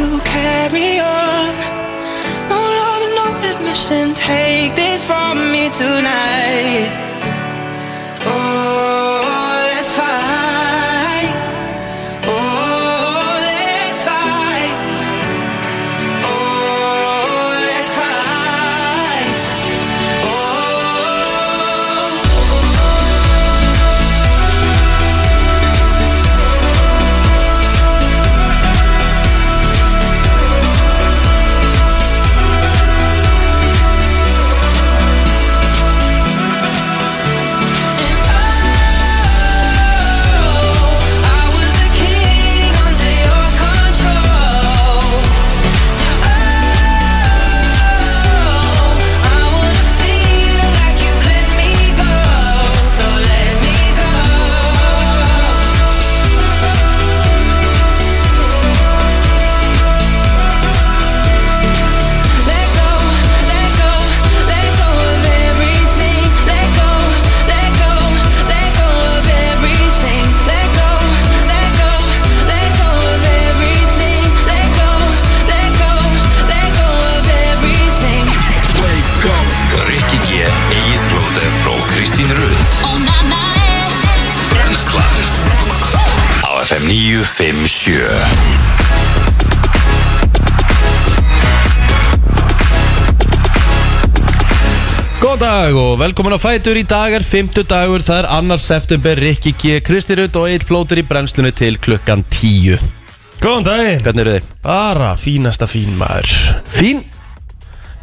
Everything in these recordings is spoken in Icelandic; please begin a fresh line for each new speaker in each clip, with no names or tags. oh, carry on. No love, no admission. Take this from me tonight. Oh, let's fight. Oh, let's fight. Oh, let's fight. Oh. I was a king under your control. Oh, I wanna feel like you let me go, so let me go. Let go, let go, let go of everything. Let go, let go, let go of everything. Let go, let go, let go of everything. Let go, let go, let go of everything.
Rikki G, Egil Blóter og Kristín Rund Brenslan Á FM 957
Góð dag og velkomin á Fætur í dag er 50 dagur, það er annar september Rikki G, Kristi Rutt og Egil Plóter í brennslunni til klukkan 10
Góðan daginn,
Hvernig eru þið?
bara fínasta fín maður
Fín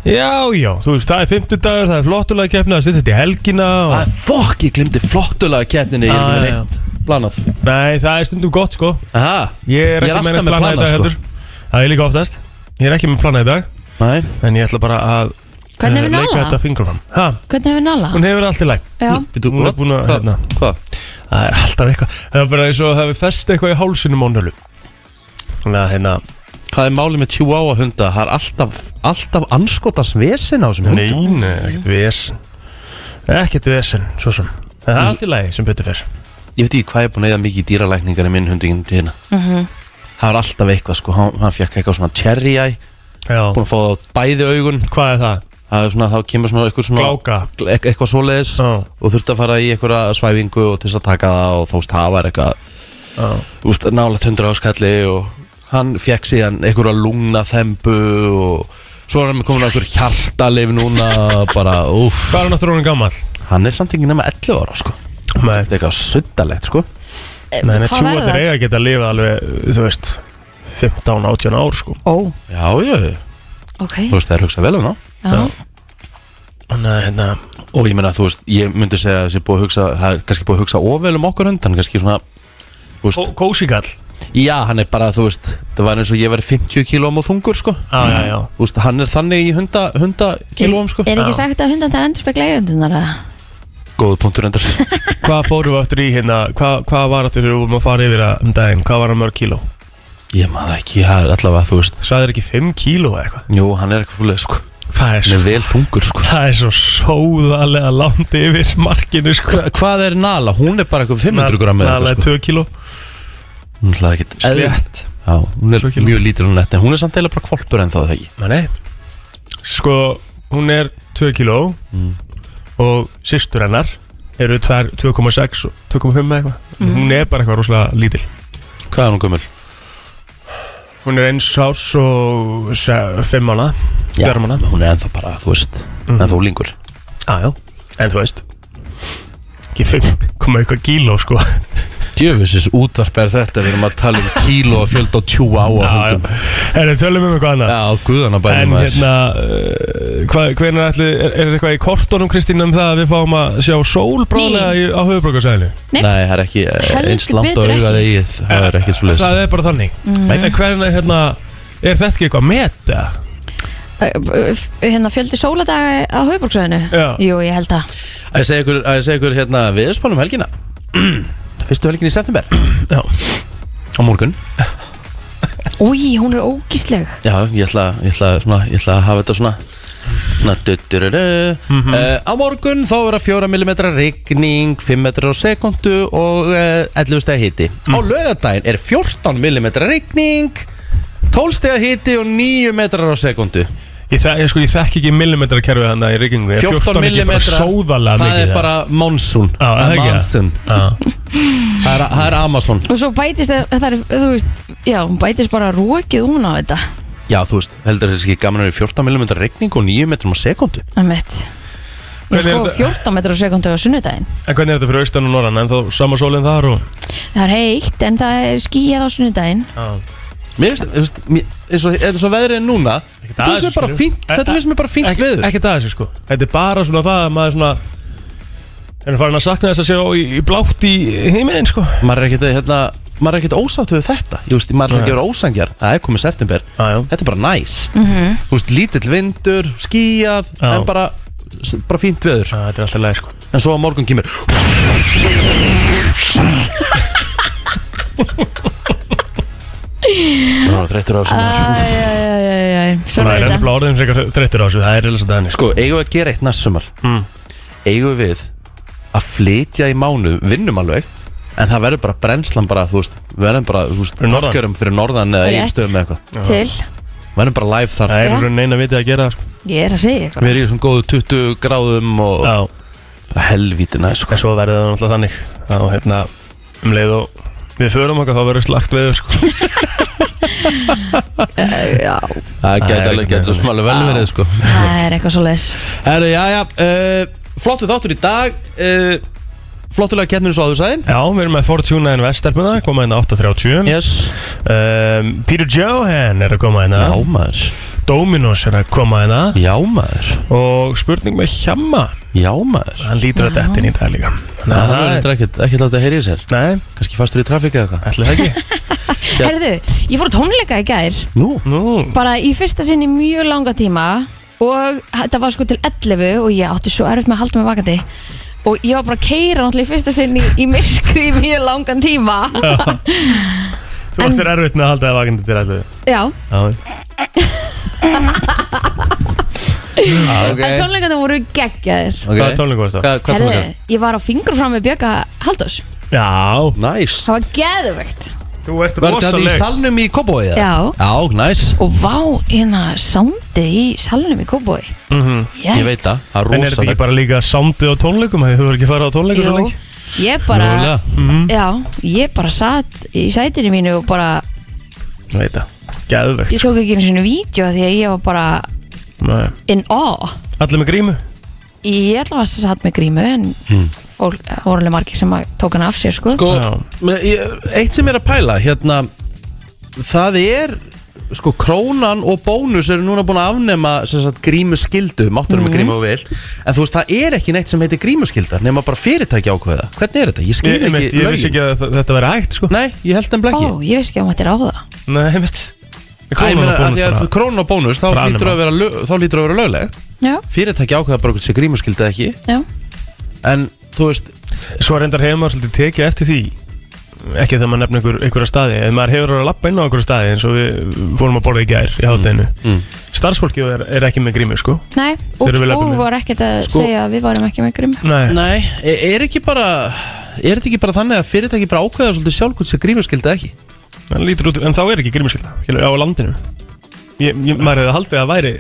Já, já, þú veist, það er 50 dagur, það er flottulega keppna, það styrst í helgina og...
ah, Fokk, ég glimti flottulega kettinni Ég er
Ah,
ekki með
já.
neitt planað
Nei, það er stundum gott, sko
Aha,
Ég er ekki
alltaf
með
með
neinn plana í dag
planað sko
heldur Það er líka oftast Ég er ekki með plana í dag,
Nei,
en ég ætla bara að
Hvernig hefur Ah.
eh, leika
Nala?
þetta fingur fram Ha,
Hvernig hefur Nala?
hún hefur allt í læg
Já,
býtu,
Hún er
what?
búin að-
Hva-
hérna.
Hvað?
Það er alltaf eitthvað Það er bara eins og það hefur fest eitthvað í hálsinum á nölu Þannig að hérna
Hvað er málið með Chihuahua hunda? Það er alltaf, alltaf anskotans vesen á þessum
Nei,
hundum
nei, ekkert vesen Ekkert vesen, svo sem En Það er allt í lagi sem betur fer
Ég veit ekki hvað ég er búin að eða mikið í dýralækningar í minn hundi í tíðina
Mhm.
Það er alltaf eitthvað sko, hann, hann fekk eitthvað svona cherry eye
Já,
búin að fá það á bæði augun
hvað er það?
það er svona, þá kemur svona eitthvað svona
Gláka
e eitthvað svoleiðis
Já.
og þurfti að fara í eitthvað svæfingu og til þess að taka það og þá veist það var eitthvað
Já.
þú veist, nálega tundra áskalli og hann fekk síðan eitthvað lungna þembu og svo er hann komin á eitthvað hjartalif núna og bara, úff
Hvað er hann aftur honum gammal?
hann er samt ekki nema 11 ára sko þetta
Nei,
er eitthvað suttalegt sko
nei, nei
Eh, hvað verður
tjúarnir
það?
eiga að geta að lifa alveg, þú veist 15-18 ár sko
Ó,
já, já,
ok
þú veist það er hugsað vel um þá
Já,
Þannig að hérna
og ég meina þú veist, ég myndi segja að þessi búið að hugsa það er kannski búið að hugsa ofvel um okkur hund hann er kannski svona, þú veist
Kósikall
Já, hann er bara, þú veist, það var eins og ég verið 50 kílóum og þungur, sko
Já, já, já
Þú veist, hann er þannig í 100, 100 kílóum, sko
Er ekki
Já.
sagt að hundan það er endur spekla eigundunar
Góðu punktur endar
Hvað fórum við aftur í hérna Hvað, hvað var aftur við vorum að fara yfir að- um daginn Hvað var hann mörg kíló?
Ég maður ekki, það er allavega, þú veist
Sæðir ekki 5 kíló eða eitthvað
Jú, hann er eitthvað fúlega, sko
Það er
Hann
svo
er vel þungur, sko
Það er svo sóðalega langt yfir markinu sko
Hva, Hvað er Nala? Hún er bara eitthvað 500 gram eða
Það er
eitthvað,
2 kíló
sko Hún er ekki
Slétt
Já, hún er mjög lítil hún þetta Hún er samt eila bara kvolpur en þá, það ekki
Nei, nei Sko, hún er 2 kíló
Mm.
Og sýstur hennar eru tvær- 2,6 og 2,5 eða eitthvað Hún er bara eitthvað rosalega lítil
Hvað er hún gömul?
Hún er eins árs og 5 mánu
Já,
Fjögurra mánaða.
hún er ennþá bara, þú veist
Mhm.
Ennþá úlingur Ah,
Jájá, en þú veist Ekki 5, koma eitthvað kíló sko
Djöfusins útvarp er þetta Við erum að tala um kíló og fjölda og tjú á
Já, já.
hundum
Herru, tölum um eitthvað annað
Já, guðana
En
bænum
hérna, uh, hva, hvernig ætli, er, er eitthvað í kortunum Kristín um það að við fáum að sjá sól bráðlega í- á höfubrókarsæðinu?
Nei.
Nei, það er ekki eh,
Heldur
eins langt á
betur
augað eigið Það er ekkert svo leiðis
Það er bara þannig. En hvernig, hérna, er þetta ekki eitthvað að meta?
Eh, Hérna fjöldi sóladaga á haugbúrksöðinu
Já.
Jú, ég held að
Að ég segja ykkur, að ég segja ykkur hérna viðspánum helgina Fyrstu helgin í september
Já.
Á morgun
Új, hún er ógísleg
Já, ég ætla, ég ætla, svona, ég ætla að hafa þetta svona Svona duttururu mm
Mhm.
Á morgun þá verða 4 mm rigning 5 metrar á eh,
Mhm.
sekundu og uh, 11 steg hiti Á laugardaginn er 14 mm rigning 12 stega hiti og 9 metrar á sekundu
Ég, þek, ég, sko, ég þekk ekki millimetrar kerfið þannig í rigningu Ég er
14 millimetrar,
Sóðalega
það er bara monsun
Já, það er ekki það.
Monsun, það er, það er Amazon
Og svo bætist það, það er, þú veist, já, hún bætist bara rókið hún á þetta
Já, þú veist, heldur þessi ekki gaman að vera 14 mm regning og 9 metrum á sekundu
Það er mitt Ég
Hvernig er
sko 14
þetta-
metrar á sekundu á sunnudaginn
En hvernig er þetta fyrir austan og norðan? En þá sama sólinn þar og
Það er heitt en það er skíjað á sunnudaginn
Mér finnst, þú veist, mér- eins og, eins og veðrið er núna Þetta
aðeins,
finnst mér bara
skilur.
fínt,
E-
þetta finnst mér bara fínt
Ekki,
veður
ekki það þessi sko Þetta er bara svona það að maður svona En farin að sakna þess að sjá í, í blátt í heiminn sko
Maður er ekkert, hérna, maður er ekkert ósátt við þetta Ég veist, maður er ekki að vera ósangjar Það er komið september,
Já, já.
þetta er bara næs
Mm. Mhm.
-hmm. Þú veist, lítill vindur, skíjað
Já.
En bara, bara fínt veður
Æ, Þetta er alltaf leið sko
En svo á morgun kemur
Mm.
Ná, þreyttur á þessu maður.
Æjæjæjæjæj Svona
Það er hérna
er
enda
þetta
bláðin frekar þreyttur á þessu Það er eða svo þannig sko
Sko, eigum við að gera eitt næst sumar
Mm.
Eigum við að flytja í mánu Vinnum alveg En það verður bara brennslan bara, þú veist Við verðum bara, þú veist,
Fyrir norðan.
norðgjörum fyrir norðan Eða
Rétt.
einstöðum eða eitthvað
Til,
Við verðum bara live þar
Það er
Já.
einhvern veginn neina vitið að gera það, sko
ég er að segja ykkur
Við erum í þessum góðu 20 gráðum Og
Já
bara helvíti næst
En
sko.
svo verður það náttúrulega þannig Þá hérna um leið og við förum okkar þá verður slagt veður sko
Já,
Það
Það
gæti
er
alveg
ekki
gæti
með
svo
þannig.
smálega velverið sko.
það er eitthvað svo leis
Herru, já, já uh, Flottu þáttur í dag uh, Flottulega kemur eins og áður sagði
Já, við erum með Fortuna en Vestelpuna koma hérna 8.30
Yes
um, Peter Johan er að koma hérna
Já maður
Dominos er að koma hérna
Já maður
og spurning með Hjamma
Já maður
hann lítur að þetta inn í dag líka
Nei, það er reyndar ekkert, ekkert látið að heyri sér
Nei,
Kanski fastur í trafík eða eitthvað
ætli það ekki
Já.
Herðu, ég fór á tónleika í gær
Nú
Nú,
Bara í fyrsta sinn í mjög langa tíma Og þetta var sko til 11 Og ég átti svo erfitt með að halda mig vakandi Og ég var bara að keira náttúrulega í fyrsta sinn í, í myrkri í mjög langan tíma
þú
En-
varst þér erfitt með að halda það vakandi til allir
Já,
Já,
en tónleikana voru geggjaðir
Eh. hvað er tónleikum varst það?
Hvað, hvað
Herðu,
tónleikar?
ég var á fingur fram með Bjöka Haldós
Já,
Næs
Það var geðvegt
þú ert
Var þetta í
rosaleg
salnum í Kobói eða?
Já.
Já, næs
Og vá, hérna, sándið í salunum í Kóboi
Mhm.
Ég,
Ég veit það,
En
það er
er þetta ekki
rosalegt
bara líka sándið á tónleikum Af því þú verður ekki farið á tónleikum svo
Jú,
lengi Mhm.
ég bara
Mögulega.
Já, ég bara satt í sætinu mínu og bara,
Ég veit það, geðvegt sko.
ég tók ekki einu svona vídeo því að ég var bara
Nei.
in awe
Allir með grímu
Ég ætla að satt með grímu en
Hm.
og það voru alveg margir sem að tók hana af sér sko,
Sko,
Já.
með- ég- eitt sem er að pæla hérna, það er sko krónan og bónus eru núna búin að afnema sem sagt, grímuskyldu, máttur
Mhm.
um að grímu og vil en þú veist, það er ekki neitt sem heitir grímuskylda nema bara fyrirtæki ákveða hvernig er þetta? Ég skil
Ég,
ekki
ég, ég, ég vissi
lögin.
ekki að þa- þetta verið hægt sko
Nei, ég held þeim blekki
Ó, ég veist ekki að maður þetta er á það
Nei, ég veit
Æ, ég meina, að því að krónan og bónus þá
Bara
lítur að vera, lög, þá lítur að vera löglegt
Já,
fyrirtæki ákveða bara hvort sé grímuskylda eða ekki
já,
en þú veist,
Svo reyndar hefur maður svolítið tekið eftir því ekki þegar maður nefnir einhver, einhverja staði en maður hefur verið að lappa inn á einhverja staði eins og við fórum að borða í gær í hátteginu mm. Starfsfólkið er, er ekki með grímu sko
nei, og,
Þeir eru vel Mm.
og
efnir.
voru ekkert að segja að við varum ekki með grímu
Nei,
nei, e- er ekki bara er þetta ekki bara þannig að fyrirtæki bara ákveða svolítið sjálf hvort sé grímuskylda eða ekki?
en, lítur út, en þá er ekki grímuskylda skilur, á landinu ég, ég, Maður hefði haldið að væri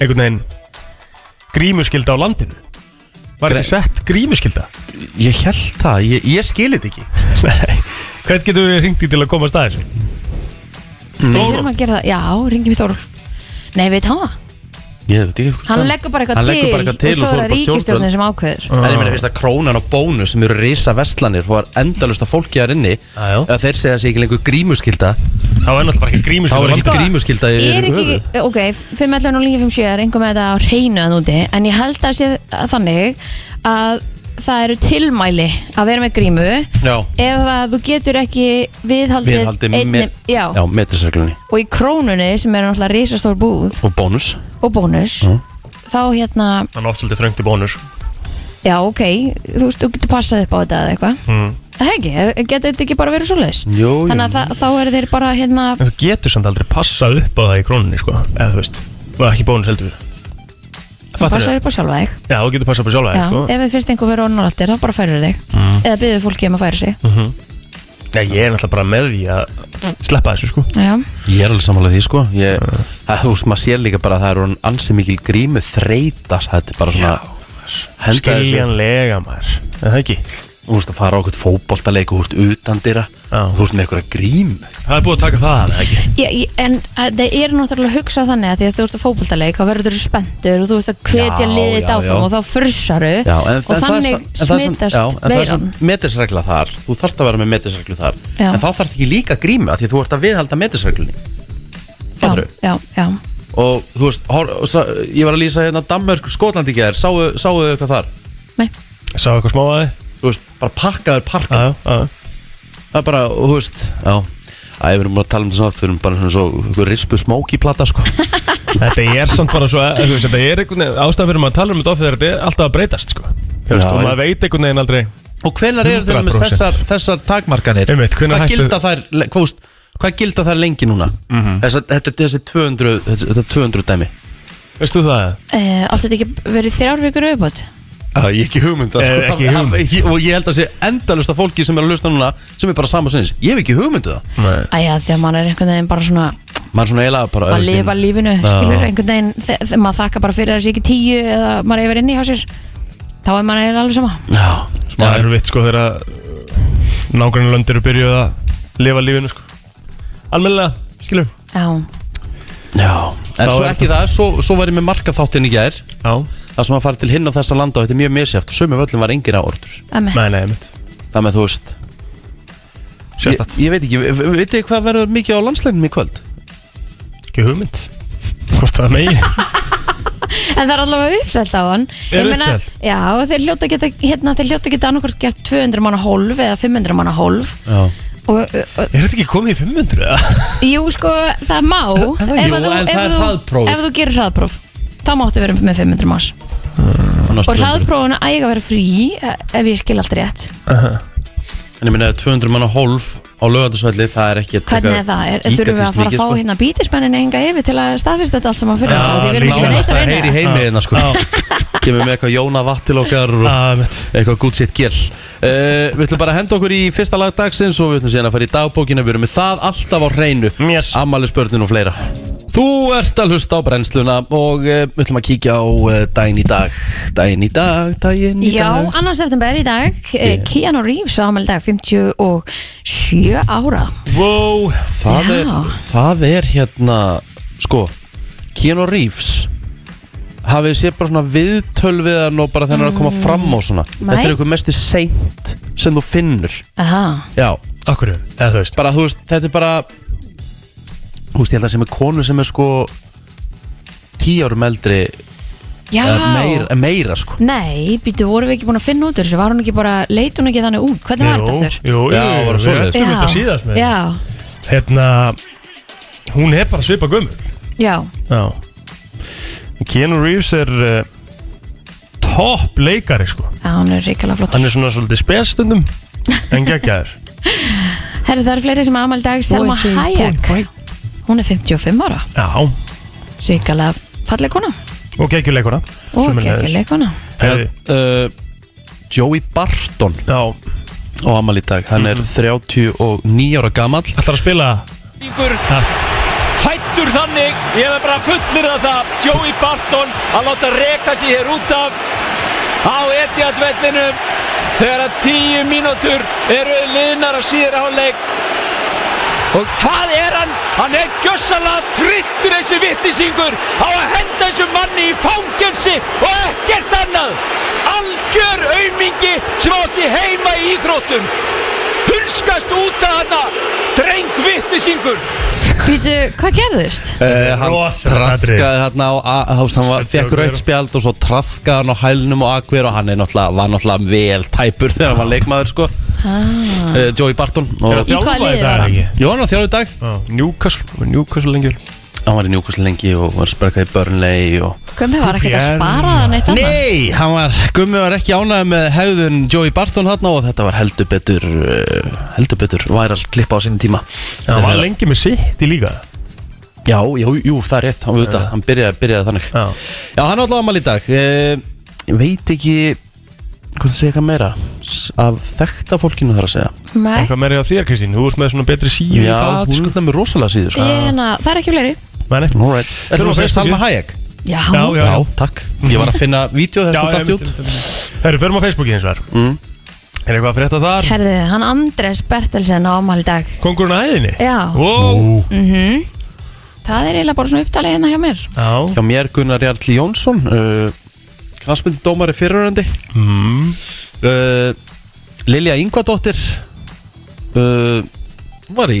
einhvern veginn grímuskylda á landinu Var
Gre-
ekki sett grímuskylda?
Ég held það, ég, ég skil þetta ekki
Nei, hvern getum við hringt í til að koma að staðir?
Mm.
Við þurfum að gera það, já, ringjum í Þór Nei, veit hann það?
Ég veit ekki hvað
Hann leggur bara eitthvað
Hann
til,
leggur bara eitthvað til
og svo er það
bara
ríkistjórnin
stjórnvöld.
sem ákveður
En
Ah.
ég meina, veist það krónan og bónus sem eru risa vestlanir og er endalust að fólki þar inni
Já, já.
Ef þeir segja sig ekki lengur grímuskylda
Þá er náttúrulega bara ekki
Þá
grímuskylda á
er
landinu.
ekki grímuskylda yfir
er ekki,
höfuð.
ok, 511 og 957 er einhver með þetta á reynu að úti en ég held að sé að þannig að það eru tilmæli að vera með grímu
Já,
ef að þú getur ekki viðhaldið,
viðhaldi
einni,
með
já,
Já, metriseglunni
og í krónunni sem er náttúrulega risastór búð
Og bónus Mm.
og bónus þá hérna,
Hann átt svolítið þröngt í bónus
já ok þú veist, þú getur passað upp á þetta eða eitthvað mm. það ekki, er- getur þetta ekki bara verið svoleiðis
Jú, jú.
þannig að það, þá er þeir bara hérna,
En þú getur samt aldrei passað upp á það í krónunni sko Eða þú veist Og ekki bónus heldur Fattar
passað
þau?
upp á sjálfa þig
Já, þú getur passað upp á sjálfa
Já,
þig sko
Mm.
ef þið finnst einhver verið orðnaraltir þá bara færur þig eða byggðu fólki um að færa sig
Já, Mhm. ég er náttúrulega bara með því að sleppa þessu sko Ah.
Já,
Ég er alveg samanlega því sko ég, að, Þú veist, maður sér líka bara að það er orðin ansi mikil grímu þreytas Þetta er bara svona henda þessu
Skiljanlega maður Er það ekki?
Þú veist að fara á okkur fótboltaleik og þú ert utan dyra
Já.
Þú veist með einhverja grím
Það er búið að taka það, er það ekki?
ég, ég, en að, það er náttúrulega að hugsa þannig að því að þú ert að fótboltaleik þá verður þú spenntur og þú ert að hvetja
Já,
liðið
já,
áfram
já.
og þá fursaru
Já,
og
en, en það er
þannig
sam- en það er sam-
smitast
já, En það er
veiran
samt metisregla þar Þú þarft að vera með metisreglu þar
Já.
En þá þarft ekki líka grímu af Því að þú ert að viðhalda metisreglunni
já,
Fattarðu?
já, já,
Og þú veist, hor, og, sa, ég var að lýsa hérna Danmörk, Skotlandi gæðir, sáu sáu þau eitthvað þar
nei,
Sá eitthvað smá að þið?
Þú veist, bara pakkaður parka
Já, já, já
Það er bara, og þú veist, já Æ, við erum bara að tala um þetta snart, við erum bara svona svo einhver rispu smókiplata, sko
Þetta er samt bara svo, þú veist, þetta er einhvern veginn ástæðan fyrir maður að tala um þetta of þegar þetta er alltaf að breytast sko Þú veist,
Já,
og
já.
maður veit einhvern veginn aldrei
Og hvenar eru þeir með
100%.
þessar, þessar takmarkanir?
Einmitt, hvenær
hvað
hættu-
gilda þær, le- hvað, veist, hvað gilda þær lengi núna? Mm
Mhm.
-hmm. Þessa, þetta, þessi 200, þessi, þetta 200 dæmi
Veist þú það?
uh, áttu þetta ekki verið þrjár vikur auðbót?
Það er ekki hugmynd það,
Eh,
sko.
ekki hugmynd.
Ég- Og ég held að sé endalust að fólki sem er að lusta núna sem er bara saman sinns, ég hef ekki hugmynd um það
Nei
Æja, því að maður er einhvern veginn bara svona
Maður er svona eiginlega bara
að lifa lífinu,
Já.
skilur einhvern veginn, þe- þe- maður þakka bara fyrir þessi ekki tíu eða maður er yfir inni hjá sér þá er maður eiginlega alveg sama
Já,
Það er erfitt sko þegar að nágrann löndir eru byrjuð að lifa lífinu sko Almennilega, skilur
Já,
já En
Þá
svo
er
ekki það, svo, svo var ég með marka þáttin í gær
Já
Það sem að fara til hinn á þessa landa og þetta er mjög misjæft og sömu völlum var engir áordur
emmi
Nei, nei, mitt
Það með þú veist ég,
Sérstætt
ég veit ekki, ve- ve- veit þið hvað verður mikið á landsleginum í kvöld?
Ekki hugmynd Hvort það megi
En það er allavega uppselt á hann Ég
Er
meina-
uppselt?
Já, þeir hljóta geta, hérna, þeir hljóta geta annarkvort gert 200 manna hólf eða 500 manna hólf
Já
og, og, og
Er þetta ekki komið í 500 eða?
jú, sko, það má
Er það
ef
ekki?
að
Jú, en
ef
það er
þú-
hraðpróf.
Ef þú gerir hraðpróf, þá máttu vera með 500 manns Og hraðprófuna æg að vera frí eh, ef ég skil allt rétt
En ég meina 200 manna hólf á lögatarsvelli það er ekki að taka
Hvernig er það? Er,
gigantískt
þurfum við að fara
mikið,
að fá
sko.
hérna bítismennin enga yfir til að staðfista þetta allt saman fyrir okkur, því við erum ekki með neitt
Nánast
að
að heyri
reyna
heimiðina sko Kemur með eitthvað jóna vatt til okkar og
Já, mitt
eitthvað gútt sitt gél uh, Við ætlum bara að henda okkur í fyrsta lag dagsins og við ætlum síðan að fara í dagbókina Við erum með það alltaf á hreinu
Yes.
Amali og fleira Þú ert að hlusta á brennsluna og uh, við ætlum að kíkja á uh, daginn í dag Daginn í dag, daginn í
Já,
dag
annars september í dag yeah. Keanu Reeves á ámæli dag 57 ára
Eh, Wow
það
Já.
er, það er hérna sko, Keanu Reeves hafið sér bara svona viðtöl við hann og bara þegar hann er að koma fram á svona
Mm. Mæ?
þetta er eitthvað mesti seint sem þú finnur
Aha.
já,
Akkur, eða þú veist
bara þú veist, þetta er bara þú veist, ég held að sem er konu sem er sko tíu árum eldri
Já,
eða meira, meira sko
Nei, býtu, vorum við ekki búin að finna út úr þessu Var hún ekki bara, leit hún ekki þannig út Hvernig var þetta aftur?
Jú, jú,
Já, var það
jú,
svoleiðis?
Við erum þetta síðast með
Já,
Hérna Hún er bara svipa gömur
já,
Já Keanu Reeves er uh, Topp leikari sko
já, hann er reikala flott
Hann er svona svolítið spesstundum En geggjaður
Herri, það eru fleiri sem ámæli dag Selma Hayek, hún er 55 ára
Já,
Reikala falleg kona
og geggjuleikuna
Og geggjuleg kona
Herri.
uh, Joey Barton
Já,
á Amal í dag, hann er 39 ára gamall
ætlar að spila
fættur þannig ég er bara fullir að það Joey Barton að láta reka sig hér út af á etiatvellinum þegar að tíu mínútur eru liðnar á síðra hálfleik og hvað er hann? hann er gjössalega trilltur þessi vittlisingur á að henda þessu manni í fangelsi og ekkert annað algjör aumingi sem átti heima í íþróttum hulskast út af hana dreng vittlisingur
Býtu, hvað gerðust?
Uh, hann
Rosalega atriði.
trafkaði hérna á a- þú veist, hann var,
Sergio
fekk rautt
Aguero.
spjald og svo trafkaði hann á hælnum og akver og hann er náttúrulega, var náttúrulega vel tæpur þegar hann var leikmaður sko
Ah.
uh, Joey Barton
Er
og
að þjálfa
liði
í dag,
var hann?
ekki?
Jó, hann var þjálfur í dag
Já, Newcastle, hann var í Newcastle lengi vel.
hann var í Newcastle lengi og var sperkað í Burnley og...
Gummi var ekkert að
Pierre.
spara það neitt annað
Nei, hann var, Gummi var ekki ánægð með hegðun Joey Barton hann og þetta var heldur betur uh, heldur betur væral klippa á sinni tíma
Hann var lengi með sitt í líka
Já, jú, jú, það er rétt, hann, ja. hann byrjaði, byrjaði þannig
Já.
Já, hann átlað ámali í dag eh, Ég veit ekki Hvað það segja eitthvað meira S- Af þekkta fólkinu þar að segja
Nei,
Eitthvað meira hjá þér Kristín, þú ert með svona betri síu í
Já,
það
hún
sko.
er með rosalega síður sko.
ég, hérna, það er ekki fleiri
Mæni.
Alright Þetta er að segja Salma Hayek
Já,
Já, já, já.
takk Ég var að finna vídeo þess
Já,
að datt
einmitt,
út Mm.
einmitt, einmitt. Herru, förum á Facebooki eins og þar Er eitthvað að frétta þar?
herðu, hann Andres Bertelsen á ámæli í dag
Kongurinn á æðinni?
Já,
Wow.
Mhm. það er eiginlega bara svona upptalið hérna hjá mér
Já,
Hjá mér Gunnar Jarl Jónsson uh, Knarsmyndindómari fyrirröndi
mm.
uh, Lilja Yngvadóttir uh, Hún var í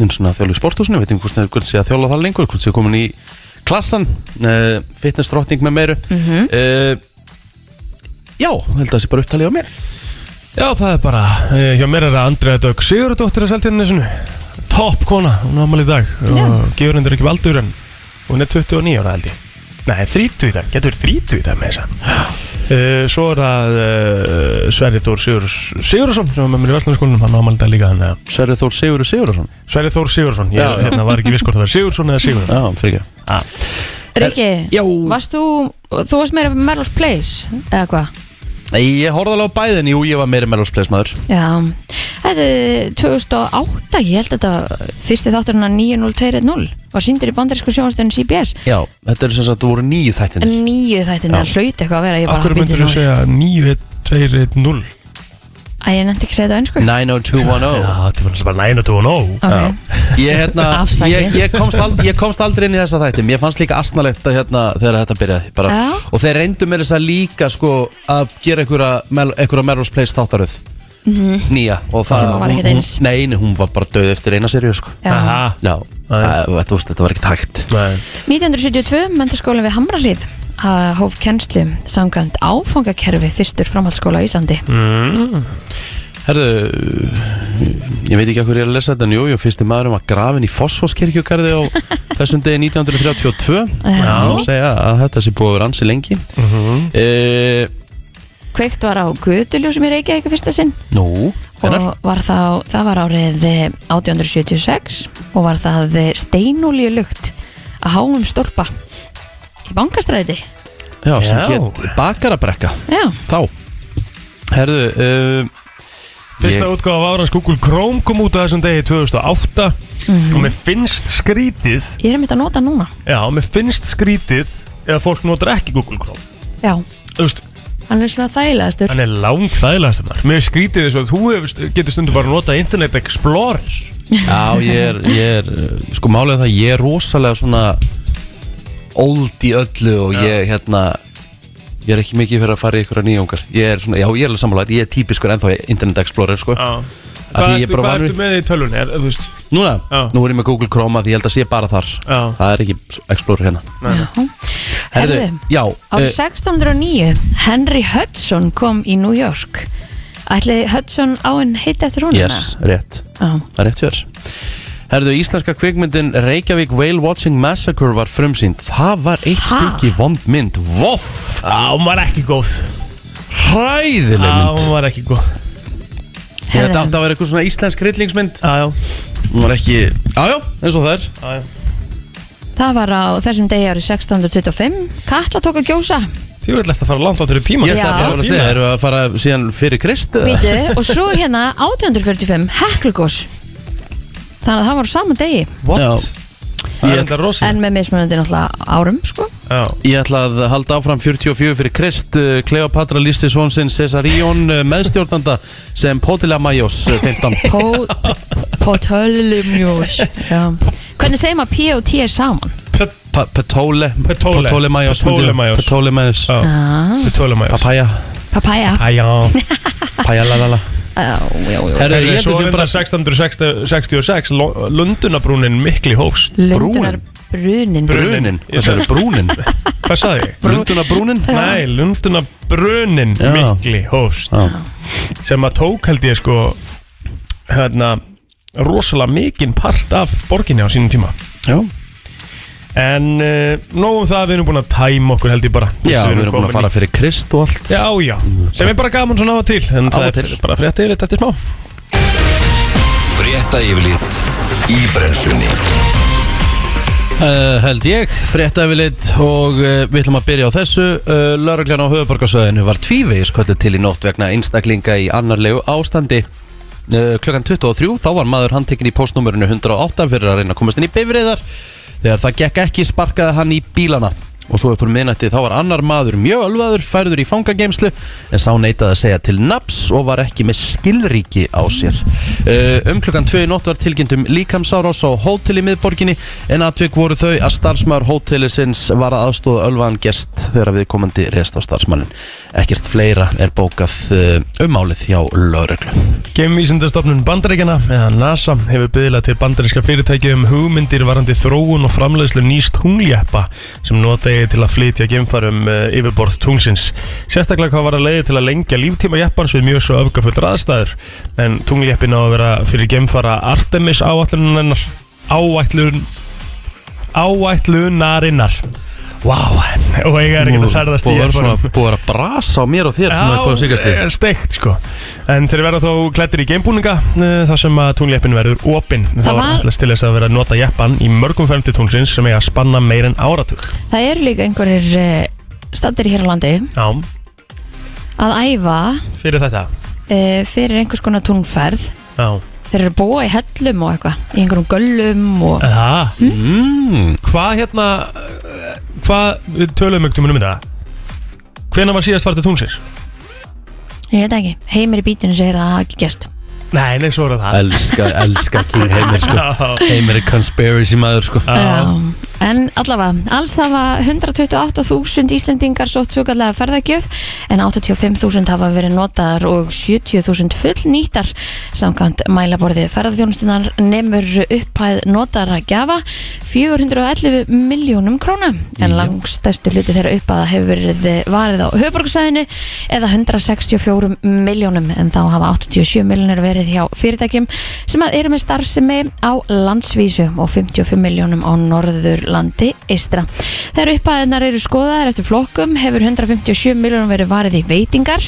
einu svona þjálfi sporthúsinu Veit ekki hvort það er hvernig sé að þjála það lengur Hvort sé komin í klassan uh, Fitness drottning með meiru uh, Já, held að það sé bara upptalið á mér
Já, það er bara eh, Hjá mér er það Andrea Dögg Sigurðardóttir að seltinni sinni Topp kona, hún ámali í dag og gefur hendur ekki valdur en hún er 29 ára held ég Nei, 30 í dag, getur 30 í dag með þessa uh, Svo er það uh, Sverri Þór Sigur, Sigurðarsson sem var með mér í Vestlandskólanum, hann ámali í dag líka þannig að
Sverri Þór Sigurður Sigurðarsson
Sverri Þór Sigurðarsson, ég
Já, já.
hérna, var ekki viss hvort það Ah. var Sigurðarsson eða Sigurðarsson
Já, fyrir ekki
Riki,
Já.
varst þú, þú varst meira Melrose Place, eða hvað?
Nei, ég horfði alveg á bæðin Jú, ég var meira meðlóspleismæður
Já, þetta er 2008, ég held þetta fyrsti þátturinn að 90210 var síndur í bandarísku sjónastöðun CBS
Já, þetta er sem sagt, þú voru nýju þættinir
nýju þættin, það hlaut eitthvað að vera ég bara
Akkur
bíddu
myndir þú
nú.
segja 9, 2, 0
Æ, ég nefndi ekki að segja þetta á önsku
90210
Já, þetta var náttúrulega bara oh 9 og 2 og 0
okay.
Ég, hérna,
Afsakið.
ég, ég, komst ald, ég komst aldrei inn í þessa þætti Mér fannst líka asnalegt að, hérna, þegar þetta byrjaði bara.
Já.
Og þeir reyndu mér þess að líka sko, að gera einhverja, Mel- einhverja Melrose Place þáttaröð
Mhm.
Nýja og það,
Sem var
hún,
ekkert
hún,
eins.
nei, nei, hún var bara döð eftir eina serið sko.
Já.
Já, það, þú veist, þetta var ekkert hægt
Nei
1972, mentaskólan við Hamralíð að hóf kennslu samkvæmt áfangakerfi fyrstur framhaldsskóla á Íslandi
Mm. Herðu, ég veit ekki að hverju ég er að lesa þetta en Jú, jú, fyrsti maðurum var grafin í Fossfosskirkjukarði á þessum degi 1932
Já. Mhm.
Má segja að þetta sé búið að vera ansi lengi E, mm
Kveikt var á Götuljósum í Reykjavík í fyrsta sinn
Nú, hvernig?
og var þá, það var árið eh, 1876 og var það steinúlíu lukt að háum stólpa í bankastræði
Já, sem
Já.
hétt Bakarabrekka
Já,
Þá Herðu uh,
Fyrsta útgáfa af árans Google Chrome kom út á þessum degi 2008 og mér finnst skrítið
ég er mitt að nota núna
já, mér finnst skrítið eða fólk notar ekki Google Chrome
Já,
Þú veist,
hann er svona þægilegastur
hann er langt þægilegast maður. Mér finnst skrítið þess að þú hefur- getur stundu bara að nota Internet Explorer
Já, ég er, ég er eh, Sko málega það, ég er rosalega svona Old í öllu Og ég, hérna Ég er ekki mikið fyrir að fara í ykkur að nýjóngar Ég er svona, já, ég er alveg sammála Ég er típiskur ennþá Internet Explorer, sko
Já
Af því
Hvað
ég
ertu,
bara
hvað
vanur-
ertu með í tölvunni? Er, þú veist,
Núna,
Já.
nú er ég með Google Chrome að Því ég held að sé bara þar
Já.
Það er ekki Explorer hérna
Herðu,
já
á
eh,
1609 Henry Hudson kom í New York Ætli Hudson áinn heiti eftir hún
Yes, rétt
Já,
Það er rétt fjör Herðu, íslenska kvikmyndin Reykjavík Whale Watching Massacre var frumsýnd Það var eitt
Ha?
stykki vond mynd Voff,
á, hún var ekki góð
hræðileg
Á,
mynd
hún var ekki góð
Þetta átti að vera eitthvað svona íslensk hryllingsmynd
Á, já,
Hún var ekki, jájá, eins og það er
á, já
það var á þessum degi árið 1625 Katla tók að gjósa
Því vil eftir að fara langt áttur í tíma
Ég
Já.
ætlaði bara að vera að segja, erum við að fara síðan fyrir Krist eða?
Býtu, og svo hérna 1845 Heklugos Þannig að það var á sama degi
What?
Já.
Það er
Ég-
enda rosa
En með mismunandi náttúrulega árum sko
Já,
Ég ætla að halda áfram 44 fyrir Krist eh, Kleopatra lísti svonsinn Cesarion eh, meðstjórnanda sem Potila Majos 15
Pó- Potolimjós Já. Hvernig segir maður P og T er saman?
Pa- Patole
Patole.
Patole Majos
Ptolemaios.
Patole Majos
já,
Ah,
við tölum að
Papaya
papaya
Æjá
Pajalalala
Já, já, já.
Herru,
Herri,
ég
svo
heldur sem
er
bara
bara 1666 Lo- Lundunabrúnin mikli hófst
Lundunar brunin
Brunin,
Ég
hvað sagði brúnin?
Hvað sagði ég?
Lunduna brúnin?
Nei, Lundunabrúnin
Já.
mikli hófst
Já.
sem að tók held ég sko hérna rosalega mikinn part af borginni á sínum tíma
Já,
en uh, nógum það við erum búin að tæma okkur held ég bara
já við erum búin
komin
að fara
í-
fyrir Krist og allt
Já, já, sem er bara gaman svona á og til en
Af
það
og til.
er bara frétt yfirleitt eftir smá
Frétta yfirlit í brennslunni
Uh, held ég, frétta yfirleitt og uh, við ætlum að byrja á þessu uh, Lörglan á höfuborgarsöðinu var tvívegis kvöldu til í nótt vegna einstaklinga í annarlegu ástandi uh, klukkan 23, þá var maður handtekinn í postnúmerinu 108 fyrir að reyna að komast inn í bifriðar þegar það gekk ekki sparkaði hann í bílana og svo uppur minnætti þá var annar maður mjög alvaður færður í fangageimslu en sá neitaði að segja til naps og var ekki með skilríki á sér uh, um klukkan 2 í nótt var tilkynnt um líkamsárás á hótel í miðborginni en atvik voru þau að starfsmæður hótelisins var að aðstóða ölvaðan gest þegar við komandi rest á starfsmænin ekkert fleira er bókað uh, um málið hjá lögreglu
Gemvísindastofnun Bandaríkjana eða NASA hefur byggðilega til bandaríska fyrirtæki um hugmyndir varandi þróun og framleiðslu nýst tungljöppa sem nota eigi til að flytja gemfarum eh, yfirborð tunglsins. Sérstaklega hvað var að leiði til að lengja líftíma jeppans við mjög svo öfgafullur aðstæður en tungljöppin á að vera fyrir gemfara Artemis áætlunarinnar áætlun áætlunarinnar Wow, og eiga er ekki að ferðast í
Búið að vera
jeppanum.
svona- búið að vera brasa á mér og þér svona upp á síkast
eh, steikt sko En þeir verða þó klættir í geimbúninga eh, Þar sem að tungljeppin verður opinn Það var
var-
allast til þess að vera að nota jeppan Í mörgum ferðum til tunglsins sem eiga að spanna meir en áratug
Það eru líka einhverjir uh, stattir hér á landi
Já,
að æfa
fyrir þetta
uh, fyrir einhvers konar túnferð
Já,
Þeir eru að búa í hellum og eitthvað Í einhverjum göllum og Hm?
það Hvað hérna eh, Hvað, við töluðum ekki um þetta Hvenær var síðast farið til tunglsins?
ég veit það ekki, heimir í bítinu segir að það hafi ekki gerst
Nei, nei, svo er það
Elska, elska King Heimir sko
Já,
Heimir er conspiracy maður sko
já,
Já. En allavega, alls hafa 128.000 Íslendingar sótt svokallega ferðagjöf en 85.000 hafa verið notaðar og 70.000 fullnýttar samkvæmt mælaborðið ferðarþjónustunar nemur upphæð notaðar að gjafa 411 miljónum króna en langstæstu hluti þeirra upphæða hefur verið varið á höfborgsæðinu eða 164 miljónum en þá hafa 87 miljónir verið hjá fyrirtækjum sem að eru með starfsemi á landsvísu og 55 miljónum á Norðurlandi eystra. Þegar upphæðinar eru skoðaðar eftir flokkum hefur 157 miljónum verið varið í veitingar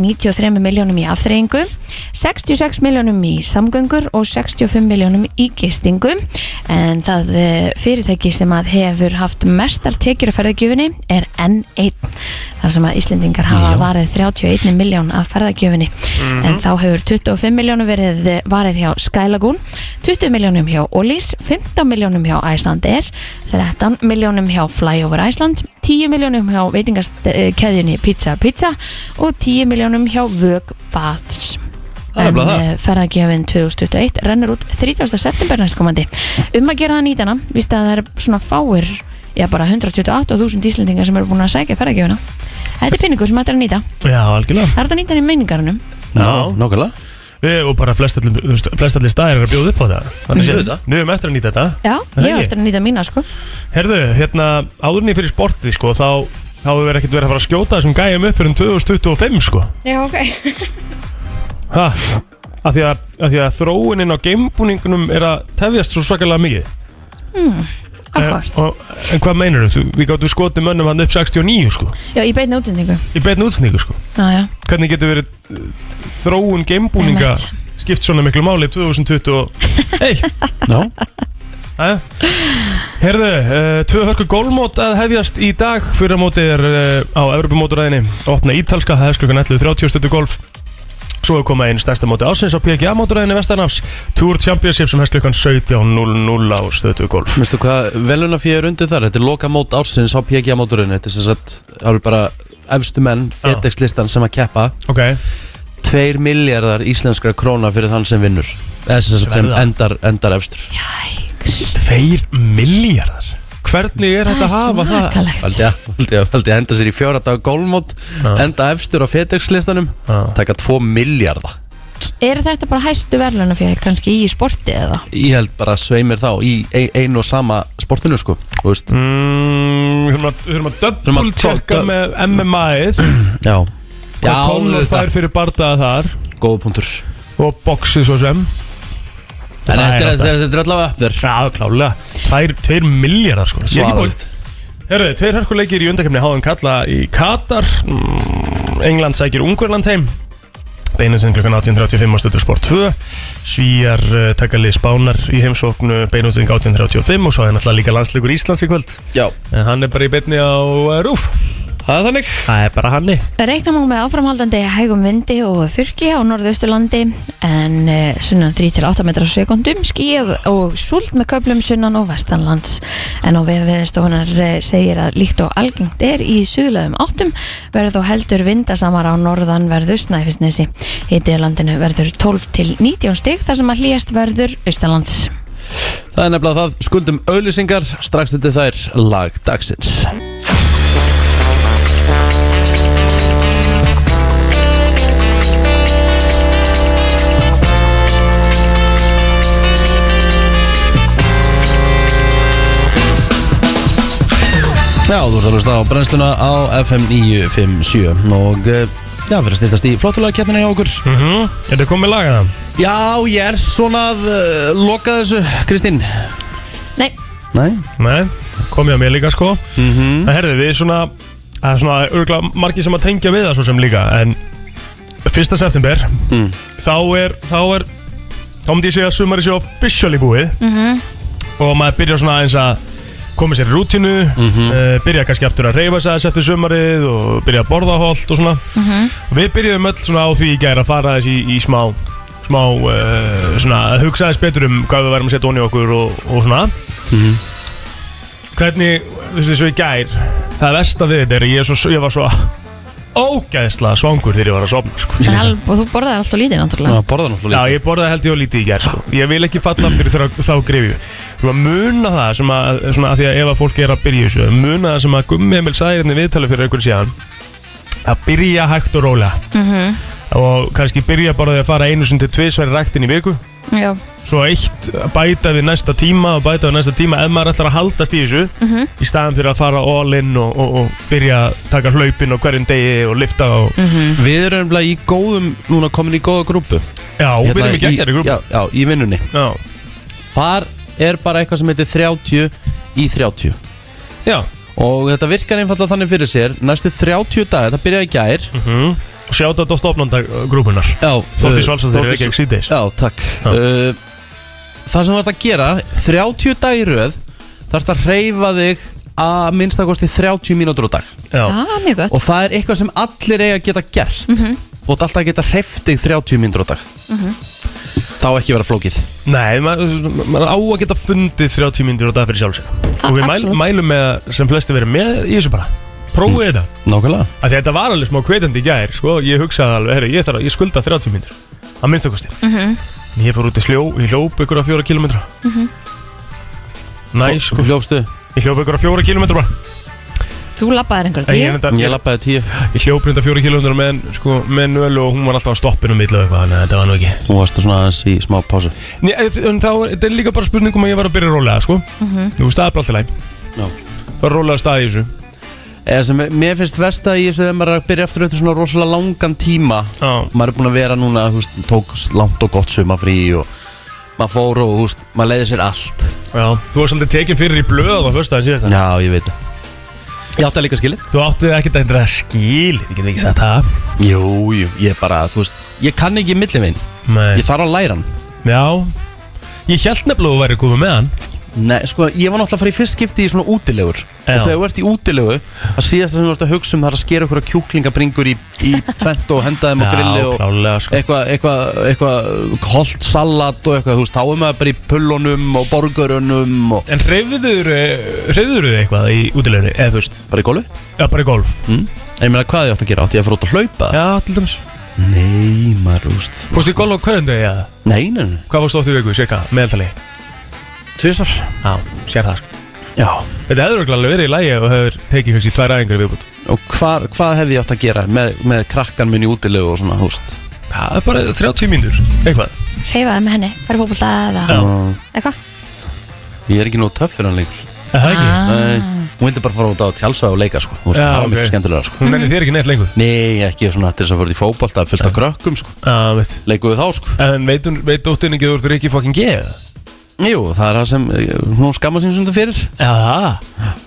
93 miljónum í afþreyingu 66 miljónum í samgöngur og 65 miljónum í gistingu en það eh, fyrirtæki sem að hefur haft mestar tekjur af ferðagjöfunni er N1 þar sem að Íslendingar hafa varið 31 miljón af ferðagjöfunni en þá hefur 25 miljónum verið eh, varið hjá Skylagoon 20 miljónum hjá Ollís 15 miljónum hjá Icelandair 13 miljónum hjá Flyover Iceland 10 miljónum hjá veitingaskeðjunni Pizza Pizza og 10 miljónum hjá Vög Baths
Það er
en
nefnilega það.
eh, ferðagjöfin 2021 rennur út 30. september næstkomandi um að gera það nýtana, víst að það er svona fáir já bara 128.000 íslendingar sem eru búin að sækja ferðagjöfina þetta er pinningur sem þetta er að nýta það
já algjörlega
er þetta að nýta hann í meiningarunum
Já.
Nákvæmlega
Við og bara flestallir staðir er að bjóða upp á það Þannig séð,
Auðvitað.
við höfum eftir að nýta þetta
já,
Það
ég
er
hef
ég.
eftir að nýta mína sko
Herðu, hérna, áðurinn í fyrir sportið, sko, þá þá hefur verið ekkert verið að fara að skjóta þessum gæjum upp fyrir um 2025, sko.
já, ok
Ha, af því að, af því að þróunin á geimbúningunum er að tefjast svo svakalega mikið.
Hmm.
Eh,
Akkvart.
og, en hvað meinar þú? Við gáttum skotið mönnum hann upp 69, sko,
Já, ég beit náttendingu.
í beinu útsningu, sko.
Já, já,
Hvernig getur verið uh, þróun geimbúninga
Einmitt.
skipt svona miklu máli 2021?
Já
Jæja. Herðu, uh, tvö hörku gólmót að hefjast í dag Fyrra mótið er uh, á Evropamóturæðinni Opna ítalska, það hefst klukkan 11.30 stundu golf Svo er komað einn stærsta móti ásins á PGA móturæðinni Vestanafs Tour Championship sem hefst klukkan 17.00 á stundu golf
Veistu hvað veluna fyrir undir þar Þetta er loka mót ársins á PGA móturinu Þetta er sem sagt Það eru bara efstu menn FedEx listan sem að keppa
Ok,
2 miljardar íslenskra króna fyrir þann sem vinnur Eða sem, sagt sem
Sverða.
endar, endar efstur
tveir miljardar Hvernig er
það er
þetta að hafa það?
svakalegt.
Valdi að, valdi að, valdi að enda sér í fjóra dag gólmót Enda efstur á FedEx listanum
Já.
Taka 2 miljardar
Eru þetta bara hæstu verðluna fyrir kannski í sporti eða?
Ég held bara sveimir þá í ein- einu og sama sportinu sko Þú veist
Mm, Við þurfum að, við þurfum að
Þurfum að
double checka
dub-
með MMA-ið
Já Já,
Hvað Conor
þetta
fær fyrir bardaða þar
Góða punktur
Og boxið svo sem
En
Það er
þetta er-
þetta.
þetta er allavega upp þér
Já, klálega Tvær, tveir miljardar sko Ég er ekki búinn.
Svaðalegt
Herðu, tveir hörkuleikir í undakemni háðum kalla í Katar mm, England sækir Ungverland heim beinu sinn klukkan 18.35 á stöður sport 2 Svíjar uh, taka lið spánar í heimsóknu beinu sinn 18.35 og svo er náttúrulega líka landsleikur Íslands í kvöld
Já,
en hann er bara í beinni á uh, rúf
það er þannig
það er bara hanni
Reikna má með áframhaldandi hægum vindi og þurki á norðausturlandi en eh, sunnan 3-8 metrar á sekundum skíð og súlt með köplum sunnan og vestanlands en á veðveðstofunar segir að líkt og algengt er í suðlaðum áttum verður þó heldur vindasamar á norðan verður snæfisnesi hitið landinu verður 12 til 19 stig þar sem að hlýjast verður austalands
Það er nefnilega það, skuldum auðlýsingar strax þetta þær lag dagsins Já, þú ert að hlusta á brennsluna á FM 957 og eh, já, við erum að snýttast í flottulega keppnina hjá okkur
mm -hmm. er þetta komið laga það?
Já, ég er svona að uh, loka þessu, Kristín
Nei,
Nei Mhm.
Nei, komið að mér líka sko mm -hmm. Það herði við svona Það er svona örgla margir sem að tengja við það svo sem líka En fyrsta september
Mm.
Þá er Þá er Þá myndi ég segja að sumari sé officially búið
Mhm.
-hmm. Og maður byrjar svona eins að koma sér í rútinu eh, Byrja kannski aftur að reyfa sig aðeins eftir sumarið Og byrja að borða holt og svona -hmm. Við byrjuðum öll svona á því í gæra að fara þess í, í smá smá uh, svona að hugsa aðeins betur um hvað við værum að setja onni okkur og, og svona hvernig, þú veist, þessu í gær það versta við þetta er að ég, er svo, ég var svo ógæðslega svangur þegar ég var að sofna sko.
en al, og þú borðar alltaf lítið náttúrulega
Já, borða
Já,
náttúrulega
ég borðaði held ég á lítið í gær sko. Ég vil ekki falla aftur í þá, þá grefju Þú að muna það sem að, svona, að því að ef að fólk er að byrja í þessu muna það sem að Gummi Emil sagði hérna í viðtali fyrir einhvern síðan að byrja hægt og rólega
Mhm.
-hmm. og kannski byrja bara því að fara einu sinni til tvisverri ræktin í viku
Já,
svo eitt bæta við næsta tíma og bæta við næsta tíma ef maður ætlar að haldast í þessu
Mhm.
í staðan fyrir að fara all in og, og, og byrja að taka hlaupin og hverjum degi og lifta og
Mhm.
Við erum nefnilega í góðum, núna komin í góða grúpu
já, og
Hérna
byrjum ekki ekki að
Já,
grúpa
já, í vinnunni
já,
Þar er bara eitthvað sem heitir 30 í 30
já.
Og þetta virkar einfallega þannig fyrir sér Næstu 30 daga, það byrjaði í gær
Mm. og sjáta þetta á stofnanda grúpunar
Já, eh,
Þórdís Valsdóttir,
Þórdís-
Reykjavík síðdeis.
Já, takk uh, Það sem þú ert að gera 30 dag í röð þarfst að hreyfa þig að minnstakosti 30 mínútur á dag
já,
það er mjög gott Mhm.
og það er eitthvað sem allir eiga að geta gert og þú ert alltaf að geta hreftið 30 myndur á dag þá ekki vera flókið
nei, maður ma á að geta fundið 30 myndir á dag fyrir sjálf sig
Ah,
og við mæl,
absolutt.
mælum með að sem flesti verið með í þessu bara prófið þetta
Nákvæmlega
að því að þetta var alveg smá kveitandi í gær sko, ég hugsaði alveg, herri, ég, þarf, að- ég skulda 30 mínútur að minnstakosti mm
Mhm.
-hmm. ég fór út í sljó, ég hljóp ykkur að fjóra kilometra mm -hmm. næ, sko
Hljófstu,
ég hljóp ykkur að fjóra kilometra bara
Þú labbaðir einhverjum
en ég,
tíu
enda,
ég
ég,
lappaði tíu
ég hljóp reynda fjóra kilometra með, sko, með nölu og hún var alltaf að stoppinu mittla eitthvað, þannig að þetta var nú ekki
Þú varst svona aðeins í smá pásu
Nei, en þá, þetta er líka bara spurning um að ég var að byrja rólega, sko mm -hmm. þú veist, það er bara alltaf læg
Já.
það er rólega staði í þessu
Eða sem mér finnst vest að ég sé þegar maður er að byrja aftur eftir svona rosalega langan tíma
Já.
maður er búin að vera núna, þú veist, tók langt og gott sumafrí og maður fór og, þú veist, maður leiði sér allt
Já. þú var svolítið tekin fyrir í blöð á föstudaginn síðasta.
Já, ég veit það Ég átti að líka skilið
Þú áttið ekkert að þetta skil, ég get ekki sagt það
Jú, jú, ég bara, þú veist, ég kann ekki millivinn,
Nei.
ég þarf að læra hann
Já Ég held nefnilega að þú væri komið með hann
Nei, sko, ég var náttúrulega að fara í fyrst skipti í svona útilegur
Já.
Og þegar þú ert í útilegu Það síðast sem þú ert að hugsa um það er að skera okkur kjúklingabringur í, í tvent og henda þeim á grilli og
klálega sko
eitthvað eitthva, eitthva, holt salat og eitthvað, þú veist, þá er maður bara í pullunum og borgurunum og
En hreyfður, hreyfður þið eitthvað í útilegni, eða þú veist
bara í gólu
Já, bara í golf
mm? En ég meina, hvað ég átt að gera? Átti ég að fara út að hlaupa?
Já, til dæmis
Nei, maður, þú veist
Fórstu í golf á hverjum degi, eða?
Nei, nei, nei,
Hvað fórstu oft í viku, cirka, meðaltali?
tvisar
Já, sér það sko
Já
Þetta hefur örugglega alveg verið í lægi og hefur tekið kannski tvær æfingar í viðbútt
Og hvar, hvað hefði ég átt að gera með, með krakkan minn í útilegu og svona, þú veist
Það er bara 30 mínútur, eitthvað
Hreyfaði með henni, færi fótbolta eða
Já.
eitthvað
Ég er ekki nóg töff fyrir hann lengur
Er Það ekki
Ah.
Nei, hún vildi bara fara út á tjálsvæð og leika sko. Hún veist,
Já,
það
ok.
var miklu skemmtilega sko.
Hún nennir þér ekki neitt lengur
Nei, ekki svona til þess að fara út í fótbolta fullt af krökkum sko.
Já, veit
Leikum við þá sko.
En veit, hún- veit dóttin ekki að þú ert ekki fucking geð?
Jú, það er það sem eh, hún skamma sín stundu fyrir
Já, það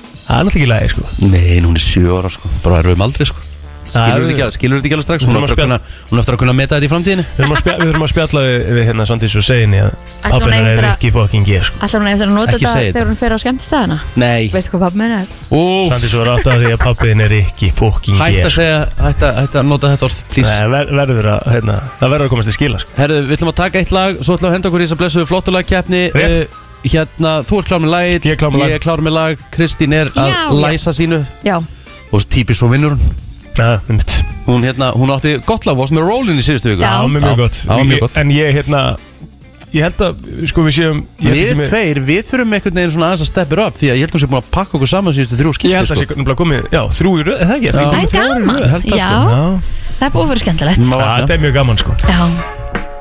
Það er náttúrulega ekki í lægi sko
Nei, en hún er sjö ára sko. Bara erum við um aldrei sko. skilur þetta ekki alveg, skilur þetta ekki alveg strax hún á
Við
eftir
þurfum
að kunna, hún á eftir að kunna meta þetta í framtíðinni
Við þurfum að spjalla, við þurfum að spjalla við, við hérna Sandís og segja henni að
Ætli hún
pappina
eigi
er
eftir að-
ekki fucking ég sko.
Ætlar hún eftir að nota
Ekki
þetta
segja þetta.
þegar hún fer á skemmtistæðina?
Nei,
Veistu hvað pappi minn er?
úf,
Sandís var átt að því að pappin er ekki fucking
hætt
ég
að
sko.
segja hætt að, hætt að nota þetta orð, please
Nei, ver, verður að, hérna, það verður að komast í skila sko.
Herðu, við ætlum að taka eitt lag, svo ætlum við að henda okkur í þess að blessu flottulag keppni
Rétt.
Hérna, þú ert klár með lagið
Ég er klár með lag.
Ég er klár með lag, Kristín er að
Já, já.
læsa sínu
Já,
Og típis svo vinnur hún
Já, einmitt.
Hún, hérna, hún átti gott lag, varst með rollin í síðustu viku
Já.
Já, mjög, mjög gott
Já, mjög gott.
En ég, hérna, ég held að, sko, við séum ég held að
Við
séum-
tveir, við þurfum einhvern veginn svona aðeins að steppa upp Því að ég held að hún sé búin að pakka okkur saman síðustu þrjú
Ég
skipti sko.
held að sé nefnilega komið, já, þrjú í röð, er það ekki?
Já.
það er gaman
Ég held að,
Já,
sko. Já.
það er búið að vera skemmtilegt
Má
Já,
vakna.
þetta er mjög gaman sko
Já,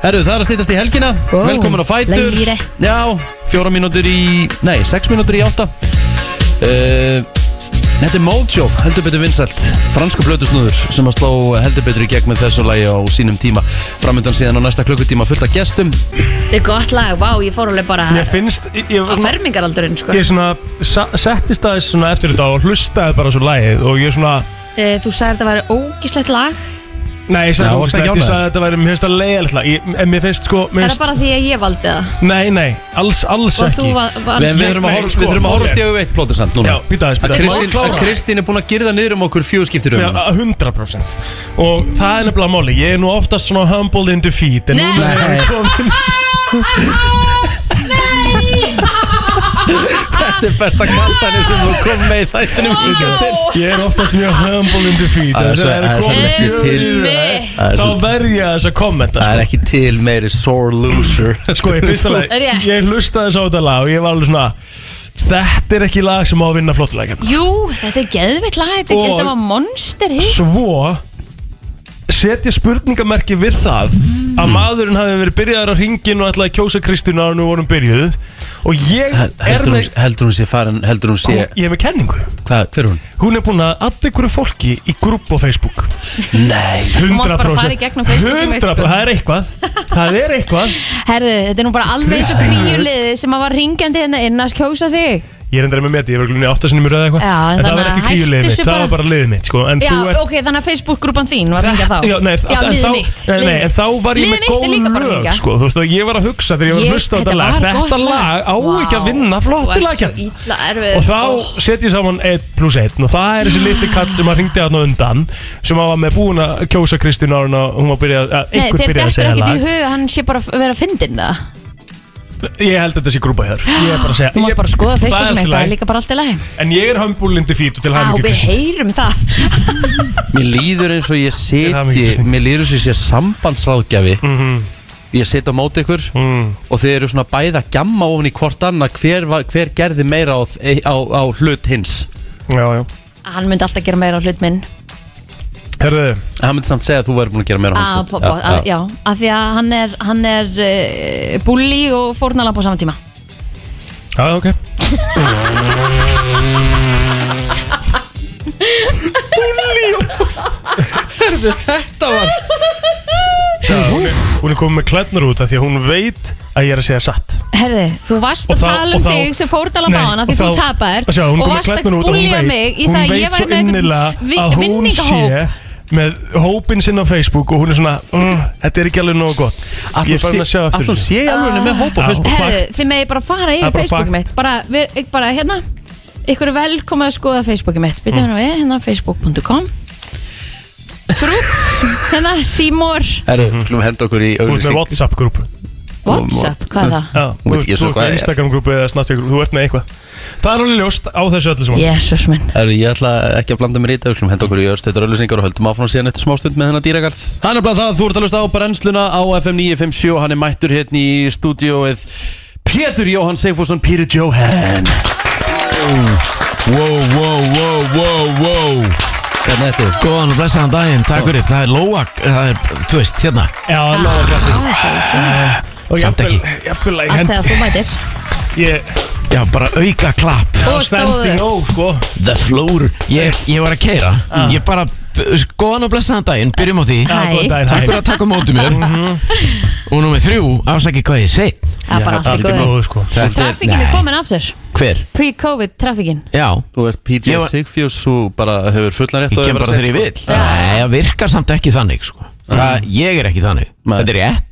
Herru, það er að stýtast í helgina
Ó,
Velkomin á Fætur
lægri.
Já, fjóra mínútur í Nei, sex mínútur í átta uh, Þetta er Mojo, heldur betur vinsælt Fransku blötusnúður sem að sló heldur betur í gegn með þessu lagi á sínum tíma Framöndan síðan á næsta klukkutíma fullt af gestum
þetta er gott lag, vá, ég fór alveg bara
Ég finnst, ég, ég,
á fermingaraldurinn, sko
ég svona sa- settist aðeins svona eftir þetta og hlustaði bara svo lagið og ég svona
Eh, Þú sagði þetta væri ógíslegt lag
Nei, ég
Já,
sagði
varstu
ógæslega, ég
ekki ánægður?
sagði að þetta væri, mér finnst það leiðilegt lag Ég- En mér finnst sko, mér
Er það
finnst,
bara því að ég valdi það?
nei, nei, alls, alls
Og
ekki
þú var, var
Við, við
Nei,
þurfum að
nei,
horfa-
sko,
við þurfum að
málið
horfa
er-
stegu veitt blótusand núna
Já, býta aðeins,
Að
býta
Kristín, að Kristín er búin að girða niður um okkur fjögur skiptir um hana
Já, 100% Og það er nefnilega máli, ég er nú oftast svona humbled in defeat En núna
Nei.
er ég komin
Þetta er besta kvartanir sem þú kom með í þættinum hingað til
Ég er oftast mjög humbled in defeat
Það er
en
svo-
þegar
það er svo
komin
ekki
fjögur
til.
í röð,
Það er
Þá
svo-
verð ég þess að kommenta
Það er ekki til meiri sore loser
Sko, ég fyrsta lag,
Rétt.
ég hlustaði þess á þetta lag og ég var alveg svona Þetta er ekki lag sem á að vinna flottlega
Jú, þetta er geðveitt lag, þetta,
Og-
þetta var monster hit
Svo setja spurningamerki við það
Mm.
að maðurinn hafi verið byrjaður á ringin og ætlaði að kjósa Kristínu ára nú vorum byrjuð og ég er
Heldur hún,
með
heldur hún sé farin, heldur hún sé
ég er með kenningu
Hvað, hver er hún?
hún er búin að adda ykkur fólki í grúpp á Facebook
Nei
100%
mátt bara fara í gegnum Facebook sem
100%
veit, sko.
það er eitthvað það er eitthvað
Herðu, þetta er nú bara alveg eins og gríjuliði sem að var ringjandi hérna inn að kjósa þig
ég er endur með meti ég var glunni átt að sinni mér eða eitthvað
Já, en
en það
þannig
var
að
ekki
hættu
kríulegið
þessu
mitt það
bara.
var bara liðið mitt sko en
Já,
þú ert
ok, þannig að Facebook-grúpan þín var ringjað þá
Já, nei,
já
en
liðið
þá-
mitt
nei, nei,
liðið-
en þá var ég
Liðið
með
mitt er líka
góð
bara
lög
hringja.
sko, Þú veist, og ég var að hugsa þegar ég var að
Ég-
hlusta á þetta lag
var
Þetta
gott
lag á ekki að
Vá, þú
vinna
ert
flottilega
svo
keppni.
illa erfið
Og þá set ég saman 1 pluss 1 Og það er þessi litli kall sem að ringdi þarna á undan Sem að var með búin að kjósa Kristín Árun Og hún var byrjað, að-
Nei,
einhver
þér
byrjað að
dettur
segja
ekkert í
lag
hug að hann sé bara að vera að fyndin það
Ég held að þetta sé grúpa hér Ég er bara að segja
Þú mátt
ég-
bara skoða
það er
Facebook
allt í
mitt, það
lagi.
er líka bara allt í lagi
En ég er hömbúlindi fýtu til
Á,
hæmingu
við
Kristín
heyrum það
Mér líður eins og ég
hamingju,
seti
Kristín.
Mér líður eins og ég sé sambandsráðgjafi
Mhm.
Ég seti á móti ykkur
Mm.
Og þið eru svona bæða gamma ofan í hvort annað Hver, var- hver gerði meira á, þ- á, á hlut hins
Já, já
Hann myndi alltaf gera meira á hlut minn
Herðu,
En Hann myndi samt segja að þú væri búin að gera meira á
Á,
hans
Ah, po- po- að- Já, af því að hann er, hann er uh, búli og fórnalamb á saman tíma
já, ok
Herðu, Þetta var
Já, hún, er, hún er komin með klærnar út af því að hún veit að ég er að segja satt
Herði, þú varst
Og
að
þá-
tala
og
um
þá-
þig sem fórnalamb á
Nei,
hana því
og
þú
þá-
tapar
Sjá, hún
og
kom með
varst að
kletnun út og hún
búlja
veit-
mig í það að ég var
Hún veit svo innilega að
einhvern
hún
vinningahóp
sé með hópin sinn á Facebook og hún er svona "Mm, Þetta er ekki alveg nógu gott Ég er farin að sjá eftir
Alltaf
þessu
sé alveg með hóp á
Já.
Facebook
Herði,
Fakt.
þið megi bara fara
Það er
yfir
bara
Facebookið
fakt.
mitt bara, við, ég bara hérna ykkur er velkomið að skoða Facebookið mitt byrjum hérna við, hérna facebook.com grúp hérna símor,
Herru, skulum henda okkur í
Þú ert með
auglýsing
WhatsApp grúpu
whatsapp, hvað er það?
Já,
Hún
Þú
veit
ert
ekki svo
þú ert
hvað
með
er.
Instagram grúpu eða Snapchat grúpu Þú ert með eitthvað Það er alveg ljóst á þessu öllu svona
Jésús minn
Herru, ég ætla ekki að blanda mér í þetta, við skulum henda okkur í örstöðar auðlýsingar og höldum áfram síðan eftir smástund með hennar dýragarð. Það er nefnilega það, þú ert að hlusta á brennsluna á FM 957, hann er mættur hérna í stúdíóið Pétur Jóhann Seifússon, Píri Jóhann.
Wow, wow, wow, wow, wow
Hvernig er þetta?
Góðan og blessaðan daginn, takk fyrir Það er lóa, það er, þú veist, hérna
Já,
Ah,
alveg Og
Samt
jafnvel,
ekki.
jafnvel að ég
allt
hend
þegar þú mætir
Ég
Já, bara auka klapp
og
stendi
stóður
nóg, sko
The floor Ég, ég var að keira Ég bara sko, góðan og blessaðan daginn, byrjum á því
Ah. Hæ. Mhm.
góðan daginn,
Takk fyrir að taka á móti mér Og númið þrjú, afsaki hvað ég seg
Það er bara allt í
Allt í
góðu
góðu sko
Trafíkin er
Nei.
komin aftur
Hver?
Pre-COVID trafíkin
Já,
Þú ert PJ
Ég var-
Sigfjós Þú bara hefur fullan rétt
ég
á að
kem
vera sko.
bara þegar ég
seinn,
vil Nei, það virkar samt ekki þannig sko Það, ég er ekki þannig
Mm. Nei.
Þetta er rétt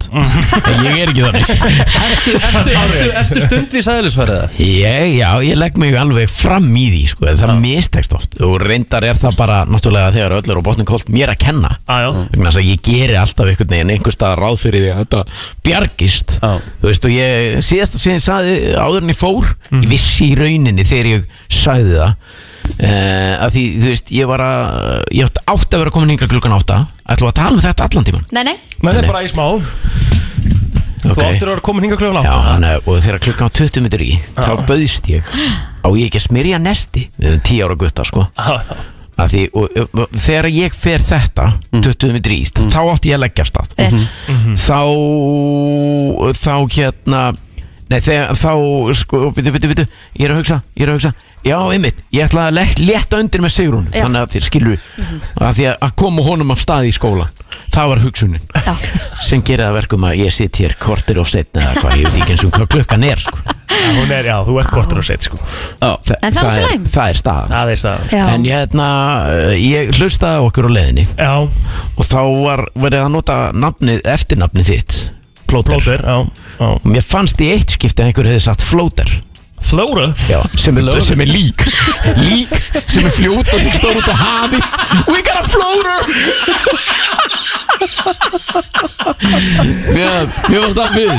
En Ég er ekki þannig
sko. Ertu- ertu- Ertu stundvís aðeinsfærið
ég, Já, ég legg mig alveg fram í því sko en Það mistekst oft Og reyndar er það bara, náttúrulega þegar öll er á botnum kolt Mér að kenna
Aðjó
vegna þess að ég geri alltaf einhvern veginn einhver stað ráð fyrir því að þetta bjargist
Já.
þú veist og ég síðast að ég saði áður en ég fór
Mhm.
ég vissi í rauninni þegar ég sagði það Uh, að því, þú veist, ég var að ég átti átt að vera komin yngra klukkan átta ætlum við að tala um þetta allan tíman
Nei, nei,
Menn er bara í smá Þú
okay.
áttir að vera komin hinga kljóðan
Já,
á
hann, eh, og þegar klukkan á 20 mitur í þá bauðst ég á ég ekki að smyrja nesti við erum 10 ára gutta, sko að því, og, og, og þegar ég fer þetta 20 mitur í, mm. þá átti ég að leggja af stað Mhm.
rétt
Mhm.
þá þá hérna nei þegar þá sko vitu, vitu, vitu, ég er að hugsa, ég er að hugsa já, einmitt, ég ætla að let, leta undir með Sigrun
Já.
þannig að þér skilur
Mhm.
að því að, að koma honum af stað í skólan það var hugsunin
Já.
sem gerir það að verkum að ég sitt hér kortir of setna eða hvað, ég veit ekki eins og hvað klukkan er sko.
Hún er, já, þú ert kortur og set sko
Þa,
En það er svo
er,
læm.
það er staðan
Það er það
Já.
en ég, hérna, eh, ég hlustaði á okkur á leiðinni
Já,
og þá var verið að nota nafnið, eftirnafnið þitt Plóter.
blóður, já, já
og mér fannst í eitt skipti að einhver hefði sagt flóter
Flóru
Já, sem, er, sem er lík lík sem er fljótandi stór út á hafi we got a floater mér mér varst það við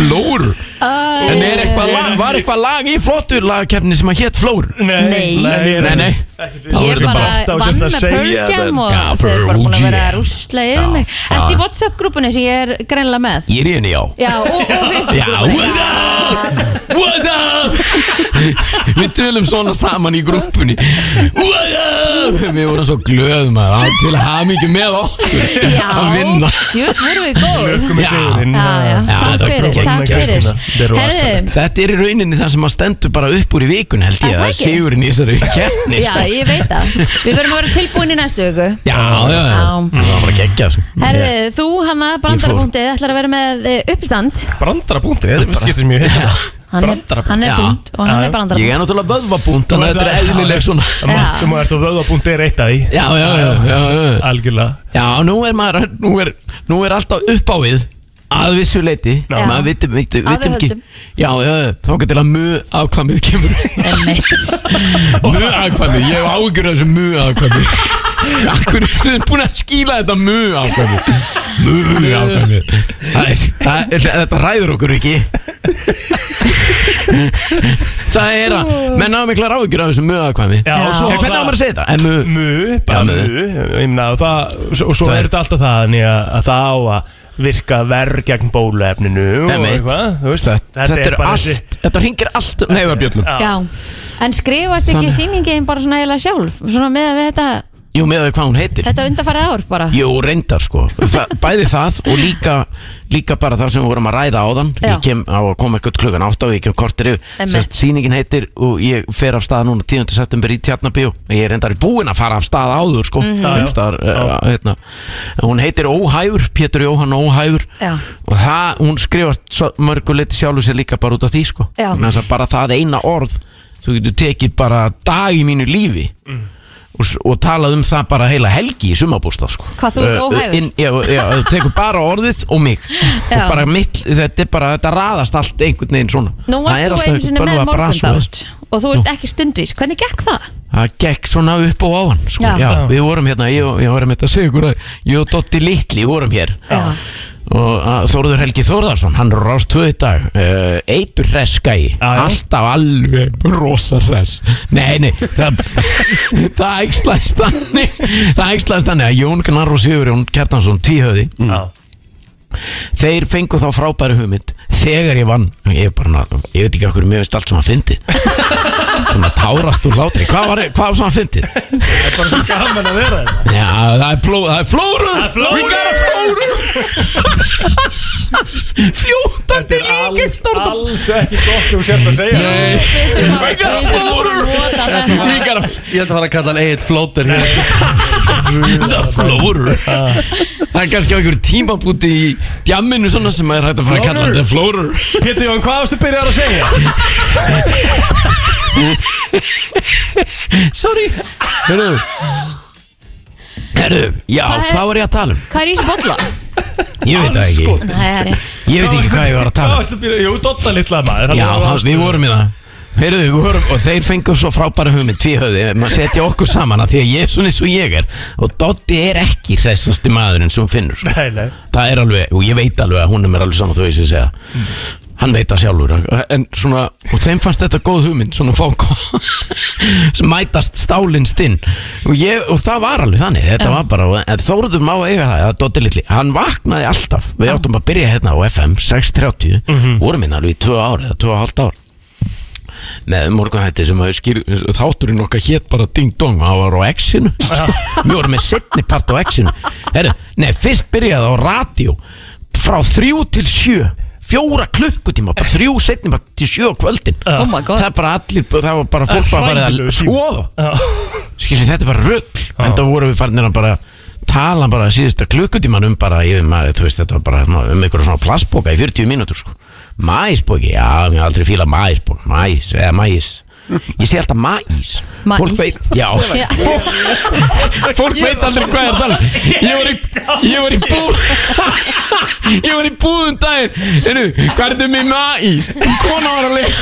flór en er eitthvað lag, var eitthvað lag í flottur lagkeppni sem að hétt flór
Nei.
nei, nei,
Ég
Það var
bara
þetta var
vann
svolítið
með Pearl Jam og
Já,
að segja, en-
þau eru bara
Pearl
búin að vera
Jam.
að rúsla yfir
Já,
mig
já.
Ertu í WhatsApp-grúpunni sem ég er greinlega með?
ég er í henni já
Já, og, og
Já, what's
Facebook-grúpunni
up? What's up? Við tölum svona saman í grúppunni What's up? Við vorum svo glöð maður að til að hafa mikið með okkur að vinna
djútt, voru við góð
Ökkum í
Já.
sigurinn
Já, já,
Já,
takk
þetta er
fyrir,
gegn-
takk fyrir
Kristína, þetta er rosalegt.
Herðu,
Þetta er í rauninni það sem að stendur bara upp úr í vikun held
Er
ég
það
að
ekki?
sigurinn í þessari keppni
já,
sko.
ég veit það Við verðum að vera tilbúin í næstu viku
Já, já, já,
Já.
það var bara geggjað sko.
Herðu, þú hanna, brandarabúndið, ætlar að vera með eh, uppstand
Brandara búnti, þetta skiptir mjög hitt
Hann er,
Brandarabúnt.
hann er
Já.
búnd og hann
Já,
er
já.
Ég
brandarabúnd
er náttúrulega vöðvabúnt Þannig að þetta er eðlileg svona
Mátt sem að ert á vöðabúnti er eitt af því
Já, já, já, já, já.
Algjörlega
Já, nú er maður Nú er, nú er alltaf upp á við Að vissu leiti
Já.
Maður vitum, vitum,
Að við
vitum ekki
höldum.
Já, já, þá getur það mjög afkvæmið kemur
Einmitt.
Mjög afkvæmið, ég hef ágjör þessu mjög afkvæmið Akkur er þið búin að skýla þetta mjög afkvæmið Mjög afkvæmið Það er- það er- Þetta ræður okkur ekki Það er að Menn hafa miklar ágjör af þessu mjög afkvæmið
Já, og
Já.
svo
En hvernig á maður að segja þetta? En mjög
Mu, bara
Já,
mu
mu.
Ég meina, og það- og- Og svo
Það
er
er-
þetta alltaf það þannig að að það á að virka verð gegn bóluefninu og
Einmitt.
eitthvað, þú veist,
Þetta, er
bara
allt,
þessi-
þetta ringir allt neyðarbjöllum
Já, en skrifast ekki sýningin bara svona eiginlega sjálf Svona með að við þetta,
Jú, með því hvað hún heitir
þetta undarfarið ár bara
Jú, reyndar sko Þa, Bæði það og líka, líka bara það sem við vorum að ræða áðan
Já.
Ég kem á að koma eitthvað klukkan átt og ég kem kortir yfir
Einmitt.
Sérst sýningin heitir og ég fer af stað núna 10. september í Tjarnabíu Ég er reyndar búinn að fara af stað áður sko
Mhm.
mm
Já, já.
Staðar, uh, hérna. Hún heitir Óhæfur, Pétur Jóhann Óhæfur
Já.
Og það, hún skrifast svo- mörgu liti sjálfu sér líka bara út af því sko
Já.
Vegna þess að Bara það eina orð Þú getur tekið bara dag í mínu lífi og, s- og talað um það bara heila helgi í sumabústað sko.
Hvað, þú ert
Ö,
óhæfur?
inn- Já, já, þú tekur bara orðið og mig
Já.
og bara mitt, þetta er bara þetta raðast allt einhvern veginn svona
Nú
Það
varst
er
þú
alltaf
einu sinni
bölvað
með
bras og
morgundátt
þess.
og þú ert ekki stundvís, hvernig gekk það?
Það gekk svona upp og áan sko.
Já.
já. Við vorum hérna, ég, og- ég var að mynda að segja ykkur að ég og Dotti Littli vorum hér
Já.
og að Þórður Helgi Þórðarsson hann er á rást tvö í dag uh, eitur hress gæi,
Já, já.
alltaf alveg rosa hress nei, nei, það það ægslaðist þannig það ægslaðist þannig að Jón Gnar og Sigurjón Kjartansson tvíhöði,
Já.
þeir fengu þá frábæri hugmynd þegar ég vann ég, er bara, ég veit ekki okkur, mér veist allt sem að fyndi svona tárast úr látri hvað var, hvað var svona að fyndi?
Það er bara svo gaman að vera þetta
Já, það er, pló, það er flóru
Það er
We
flóru.
got a flóru Fljótandi líka
Alls, alls ekki gott um sért að segja
Nei.
Við
got a
þurfum að
floater.
nota þetta.
Líka
Ég ætla að fara að kalla hann Egil Flóter hér
The Flóru Það er kannski á einhverjum tímabúti í djamminu svona sem maður er hægt að fara að kalla The Flóru
Pétur Jón, hvað varstu byrjar að segja?
Sorry Herru Herru, já,
Hvað er-
hvað var ég að tala um?
Hvað er í þessu bolla?
Ég veit það ekki
Nei, það er rétt.
Ég veit ekki hvað ég var að tala um
Hvað varstu byrjar? Jú, dotta litla maður
Já, það- við vorum í það Heyrðu, við vorum, og þeir fengu svo frábæra hugmynd tvíhöfði, maður setja okkur saman að því að ég er svona eins og ég er og Doddi er ekki hressasti maðurinn sem hún finnur sko.
Nei, nei
það er alveg, og ég veit alveg að hún er mér alveg saman þó ég sé að segja hann veit það sjálfur en svona, og þeim fannst þetta góð hugmynd svona fá sem mætast stálinst inn og, ég, og það var alveg þannig, þetta var bara og- en Þóruður má eiga það, að Dóttir Lilli hann vaknaði alltaf, við áttum að byrja hérna á FM 6.30, vorum hérna alveg í tvö ár eða tvö og hálft ár með morgunhætti sem að skýr, þátturinn okkar hétt bara ding dong það var á X-inu við vorum með setni part á X-inu Herru, nei, fyrst byrjaði á radio frá þrjú til sjö fjóra klukkutíma, bara þrjú setni bara til sjö á kvöldin
Oh my god.
það er bara allir, það var bara fólk bara farið að
Hræðilegur tími.
svoða
Já.
skilji, þetta er bara rugg en það vorum við farnir að bara tala bara síðustu klukkutíman um bara yfir maður, þú veist, þetta var bara svona, um einhverja svona plastbóka í 40 mínútur sko Mæsbóki, já, mér hef aldrei fíla mæsbók Mæs, eða mæs Ég segi alltaf mæs
Maís.
Fólk veit, já
Já.
Fólk- Fólk veit aldrei hvað er það Ég var í, ég var í bú Ég var í búðum daginn Einu, hvað er þetta með mæs? Kona var alveg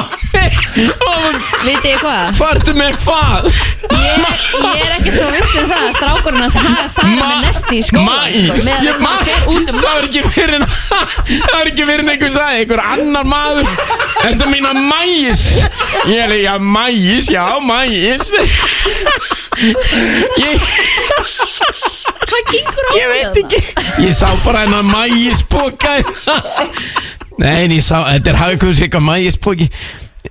Og hún,
Vitið ég hvað?
Hvað ertu með hvað?
Ég, ég er ekki svo viss um það að strákurinn hans hafi farið með nesti í skóla sko,
Mæs
meðan
Ég-
hann
ma-
fer út um
Það er
allt.
ekki fyrir en Það er ekki fyrir en einhver sagði Einhver annar maður Ertu að mína mæs? Ég er líka mæs, já mæs Ég
Hvað gengur á
Ég veit
þarna?
ekki Ég sá bara hennar mægispoka Nei, en ég sá Þetta er hafðið eitthvað mægispoki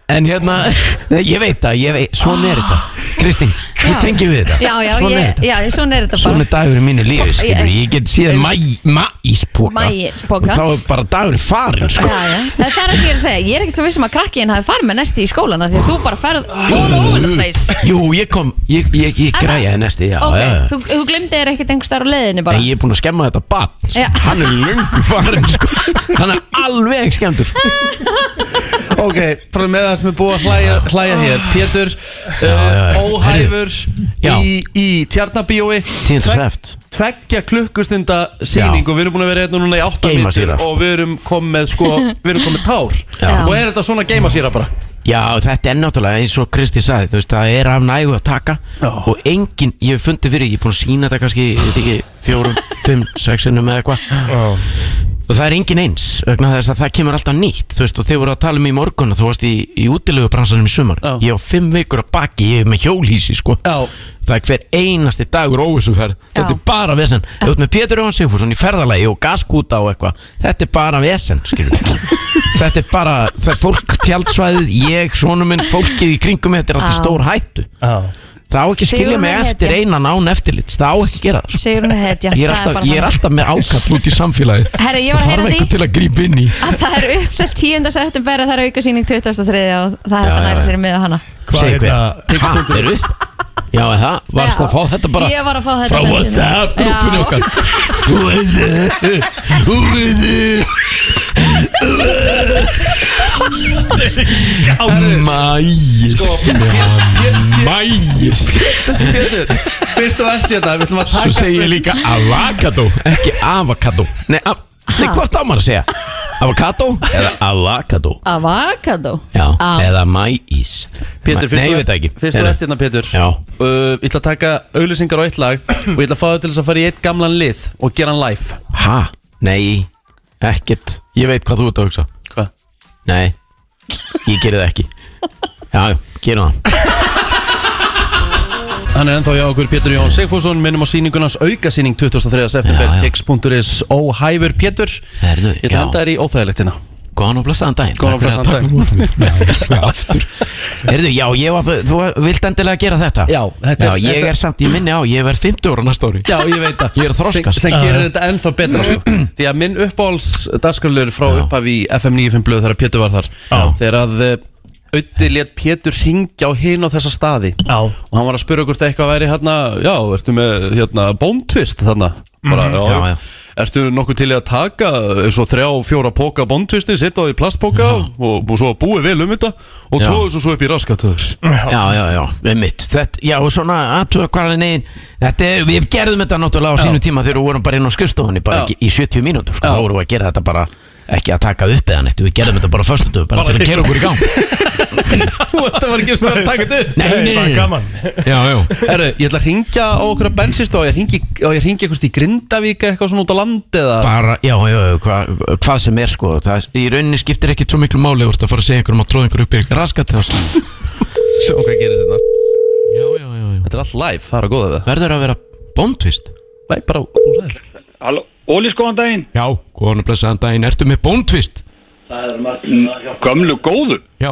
En hérna, nei, ég veit það ég veit, Svona er þetta Kristín, þú
Já.
tengir við þetta
Já, já,
Svona er
ég,
þetta
já, svona er þetta
Svona
bara Um-
er dagur í mínu lífi, skilur Ég get séð mæ- mægispoka
Maíspoka.
Og þá er bara dagur farin, sko
Já, já. En Það er það sem ég er að segja, ég er ekki svo viss um að krakkiðin hafi farið með nesti í skólana því að þú bara ferð all over the place
Jú, ég kom, ég, ég, ég
Er það?
græja það næsti, já,
Ok,
já, já.
þú, þú glemdi þér ekkert einhvers þar á leiðinni
En
bara
ég er búinn að skemma þetta bann
Já.
Hann er löngu farin, sko Hann er alveg skemmtur, sko
Ok, frá með það sem er búið að hlæja, hlæja hér Pétur,
já,
uh,
já.
óhæfur
Já.
í, í tjarnabíói
Tíðan
Tvegg-
sveft
Tveggja klukkustunda síning
Já.
og við erum búin að vera hérna núna í 8
Geyma síra, sko.
og við erum komið með sko, við erum komið tár
Já.
og er þetta svona geima síra bara
Já, þetta er náttúrulega eins og Kristi saði þú veist, það er af nægu að taka og enginn, ég hef fundið fyrir, ég er búinn að sína þetta kannski, ég veit ekki, fjórum, fimm sexinum eða eitthvað og það er enginn eins, vegna þess að það kemur alltaf nýtt, þú veist, og þeir voru að tala um í morgun að þú varst í, í útilegubransanum í sumar
Já.
ég á fimm vikur að baki, ég er með hjólhísi sko,
Já.
það er hver einasti dagur óvissuferð,
Já.
þetta er bara vesen þú ert með Pétur Jóhann Sigfússon í ferðalagi og gaskúta og eitthvað, þetta er bara vesen skilur þetta er bara, það er fólk tjaldsvæðið, ég, sonu minn fólkið í kringum mig, þetta er alltaf
Já.
stór hættu það á ekki að skilja
Sigurður
mig
er
eftir
hetja.
einan án eftirlit, það á ekki að gera það sko.
Sigur hún er hetja
ég er
það
alltaf,
bara
ég er
þannig.
alltaf með ákall út í samfélagi
Herra, ég var að
þarf
heyra
eitthvað
því.
til að grípa inn í
að það er uppsett 10. september að það er aukasýning 23. og það er hægt að
Já, já,
næra
já.
sér með hana
Segðu
hérna,
hver, hæ, er upp Já, er það, varst
Já.
að fá þetta bara
Ég var að fá þetta
Frá
sent hérna.
WhatsApp grúpunni
Já.
okkar Þú veit þið Þú veit þið Sko,
sko,
Mæs Mæs
Pétur, fyrst og eftir þetta við ætlum að
Svo
taka
segi ég líka avocado Ekki avocado Nei, af, nei hvort á maður að segja Avocado eða avocado
Avocado
Já,
Ah.
eða mæs
Pétur, fyrst,
Nei, ég
og eft-
veit það ekki
fyrst og
Heyrðu.
eftir hérna Pétur
Já.
uh, Ég ætla að taka auðlýsingar á eitt lag og ég ætla að fá þau til þess að fara í eitt gamlan lið og gera hann live
Hæ? Nei, ekkert Ég veit hvað þú ert að hugsa
Hvað?
Nei, ég geri það ekki Já, já, gerum það
Hann er ennþá hjá okkur Pétur Jón Sigfússon minnum á sýningunans aukasýning 23. september
Já, já.
tix.is óhæfur Pétur
Herðu,
Ég ætla
já.
að henda þér í óþægilegtina
Góðan og blessaðan daginn
Góðan og blessaðan
daginn Aftur Erðu, já, ég var, þú vilt endilega gera þetta
Já, þetta er-
Já, ég
þetta-
er samt, ég minni á, ég verð 50 ára næsta ári
Já, ég veit það
Ég er að þroskast.
Sem, sem gerir þetta ennþá betra sko. Því að minn uppáhalds dagskrálur frá
Já.
upphafi í FM 95 blöð þegar Pétur var þar
Já.
Þegar að eh, Ötti létt Pétur ringja á hinn á þessa staði
Já.
og hann var að spura hvort eitthvað væri hérna já, ertu með hérna bóntvist þarna bara,
Mhm,
já,
já, já.
ertu nokkuð til í að taka eh, svo þrjá, fjóra póka bóntvisti setja á því plastpóka og, og svo búið vel um þetta og
Já.
tóðu svo, svo upp í raskatöður
já, já, já, einmitt þetta, já, og svona aðtöða hvað er negin þetta er, við gerðum þetta náttúrulega á sínu tíma þegar við vorum bara inn á skrifstofunni bara
Já.
ekki, í 70 mínútur, sko,
Já.
þá vorum við að gera þetta bara ekki að taka upp eða neitt, við gerðum þetta bara á föstutum, bara,
Bara
til að
til-
kera okkur í gang
þetta var ekki svona að taka þetta upp
nei, nei,
bara
nei, nei.
gaman
Já, já.
Herru, ég ætla að ringja á okkur að bensist og ég ringi, og ég ringi eitthvað í Grindavík eitthvað svona út á landi eða
bara, já, já, já hva, hvað sem er sko, það, í rauninni skiptir ekkit svo miklu máli, þú ert að fara að segja einhverjum að tróða einhverjum upp í sko. einhverjum raskat já,
sjá hvað gerist
hérna?
þetta
já, já, já.
Þetta er allt live, það er að góða það
verður að vera bóndvist
Nei, bara þú ræður
Halló, Ólís, góðan daginn.
já, góðan og blessaðan daginn, ertu með bóndvist
Gömlu góðu.
já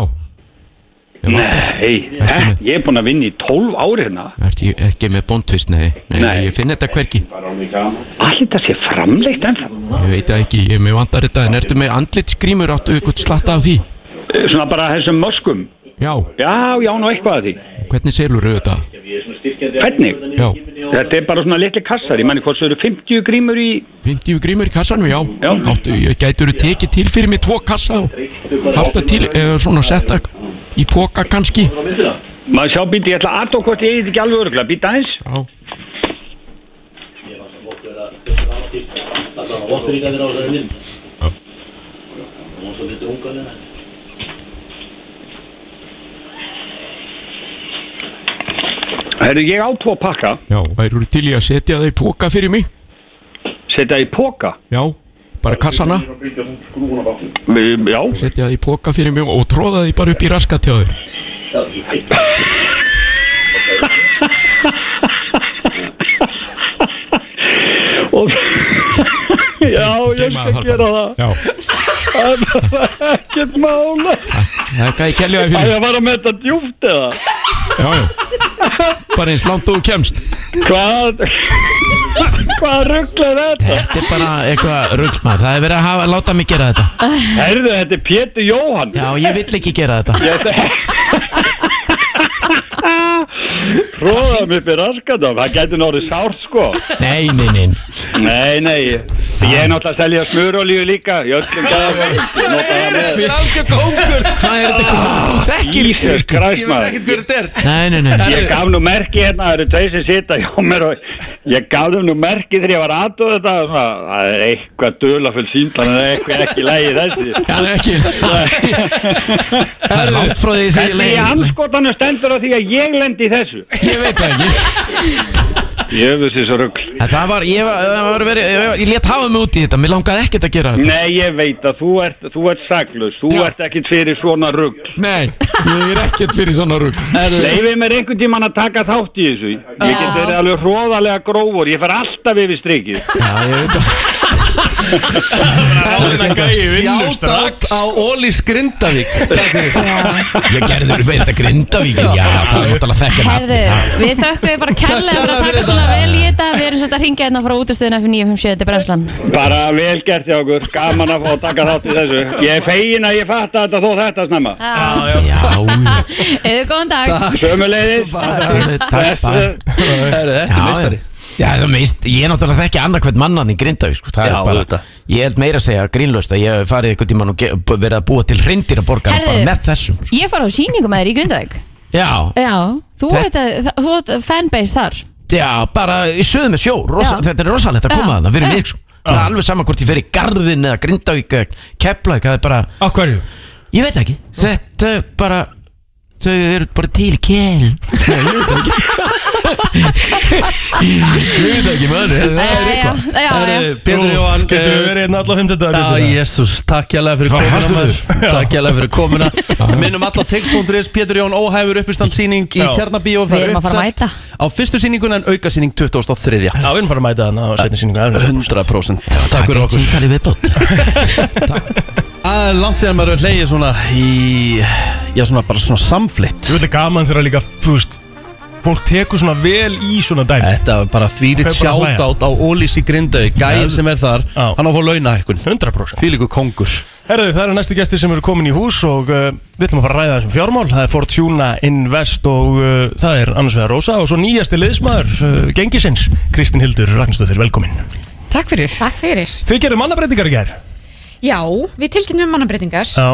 Nei,
Ertu
eh,
með-
ég er búinn að vinna í 12 ári hérna.
Ertu ekki með bóndvist, nei, nei,
Nei.
ég finn þetta hvergi
Allt þetta sé framleitt ennþá.
Ég veit það ekki, ég er með vandar þetta En ertu með andlitsgrímur, áttu ykkur slatta af því
Eh, Svona bara þessum möskum.
Já,
Já, já, nú eitthvað að því.
hvernig selur þetta?
Hvernig?
hérna Já,
Þetta er bara svona litli kassar. Ég manni hvort svo eru 50 grímur í...
50 grímur í kassanum, já,
Já.
Áttu, Gætur þú tekið til fyrir mig tvo kassa og haft það til, eða svona setta í póka kannski
Maður sjá býti, ég ætla að aðtók hvort ég eitthvað ekki alveg örgulega. Býta eins.
Já,
Herru, ég á tvo pakka.
já, væru til í að setja það í póka fyrir mig
Setja í póka.
Já, bara kassana,
Eh, Já,
setja það í póka fyrir mig og tróða því bara upp í raskatjáður
og... já, ég skal gera það.
Já,
Ekkert mála.
það er hvað ég kelja það
Það
fyrir
er að fara með þetta djúft eða?
Já, já, bara eins langt og þú kemst
Hvað? Hvað ruggla er þetta?
Þetta er bara eitthvað rullsmað Það er verið að hafa, láta mig gera þetta
Herðu, þetta er Pétur Jóhann.
Já, ég vill ekki gera þetta
Róða mig fyrir raskatum. Það gæti nórið sárt, sko.
Nei, nei, nei
Nei, nei. Ég er náttúrulega að selja smurolíu líka. Ég öllum gæða.
Þetta er algjör góngur
Hvað er þetta eitthvað sem þú þekkir?
Ísir,
Ég veit ekkert
græsmaður.
hver þetta er
Nei, nei, nei
Ég gaf nú merki hérna, það eru tveir sem sita hjá mér og ég gaf þeim nú merki þegar ég var aðdóð þetta og svona, það er eitthvað dölafull sínd, þannig að það er eitthvað ekki lægi þessi.
Já, það er ekki Það er langt frá því sem ég
Þessi í
leið
anskotanum stendur á því að ég lendi í þessu.
Ég veit það ekki
Jöfus þessu rugg.
En Það var, ég var, það var verið Ég, ég let hafa mig út í þetta, mér langaði ekkert að gera þetta
Nei, ég veit að þú ert, þú ert saklaus, þú
Já.
ert ekkit fyrir svona rugg.
Nei, ég er ekkert fyrir svona rugg
Leifið mér einhvern tíman að taka þátt í þessu. Ég get verið alveg hróðalega grófur, ég fer alltaf yfir strikið.
Já, ég veit það
Þetta gæi vinnur strax
Sjátt á Ólís Grindavík Takk fyrir
Ég gerði þurfi þetta grindavík Já, það er náttúrulega þekkir
Herðu, við þökkum við bara kærlega fyrir að taka svona vel í þetta Við erum sérst að ringja hérna frá útastöðuna fyrir 957, þetta er brennslan
Bara vel gert hjá okkur, gaman að fá að taka þátt í þessu. Ég er fegin að ég fatta þetta þó þetta snemma.
Já,
Já,
eða góðan dag
Sömulegðis,
já, takk, takk
Herru, Þetta er meistari
Já, það meist, ég er náttúrulega þekki annað hvern mannan í Grindavík sko, það
Já,
er bara,
auðvitað.
ég held meira að segja grínlaust að ég hef farið einhvern tímann og ge- b- verið að búa til hreindir að borga
Herðu.
bara með þessum
Ég fór á síningu með þér í Grindavík
Já,
Já, þú
Þetta-
veit að, þú veit fanbase þar
já, bara í söðu með sjó rosa,
Já.
þetta er rosalegt að
Já.
koma að það fyrir
Já.
mig sko. það er alveg sama hvort ég fer í Garðin eða Grindavík eða Keflavík, það er bara
Á hverju?
ég veit ekki, þetta er bara þau eru bara til í kjel Ég veit ekki, maður
Já, já, Eh, já, já.
Herru, Eh, Pétur Jóhann
Getur við
eh,
verið hérna allar 50
Já, jésús, takk jæglega fyrir
Já,
komuna
fannstu
maður.
þér?
Takk jæglega fyrir komuna Minnum alla text.is, Pétur Jón óhæfur uppistandsýning í
Já.
Tjarnabíó
Við erum að fara að mæta.
Á fyrstu sýningun en aukasýning 2003
Já, við erum fara að mæta þarna á setni síningu
100% Takk fyrir okkur
Sýntali viðbót
Það er langt síðan maður hefur hleyið svona í Já svona bara svona samflitt
Þú veit að gaman þeirra líka, þú veist Fólk tekur svona vel í svona dæmi
Þetta var bara þvílitt
Fer bara að hlæja.
sjátátt á Ólís í Grindavík Gæinn sem er þar,
Já.
hann á að fá launa
100%
Fylgur kongur
Herðu, það eru næstu gestir sem eru komin í hús og uh, við ætlum að fara að ræða þessum fjármál Það er Fortuna Invest og uh, það er annars vegar Rósa og svo nýjasti liðsmaður uh, gengisins, Kristín Hildur Ragnarsdóttir, velkomin
Takk fyrir. Takk fyrir.
Þið gerðu mannabreitingar í gær
Já, við tilkynnum mannabreitingar
Já,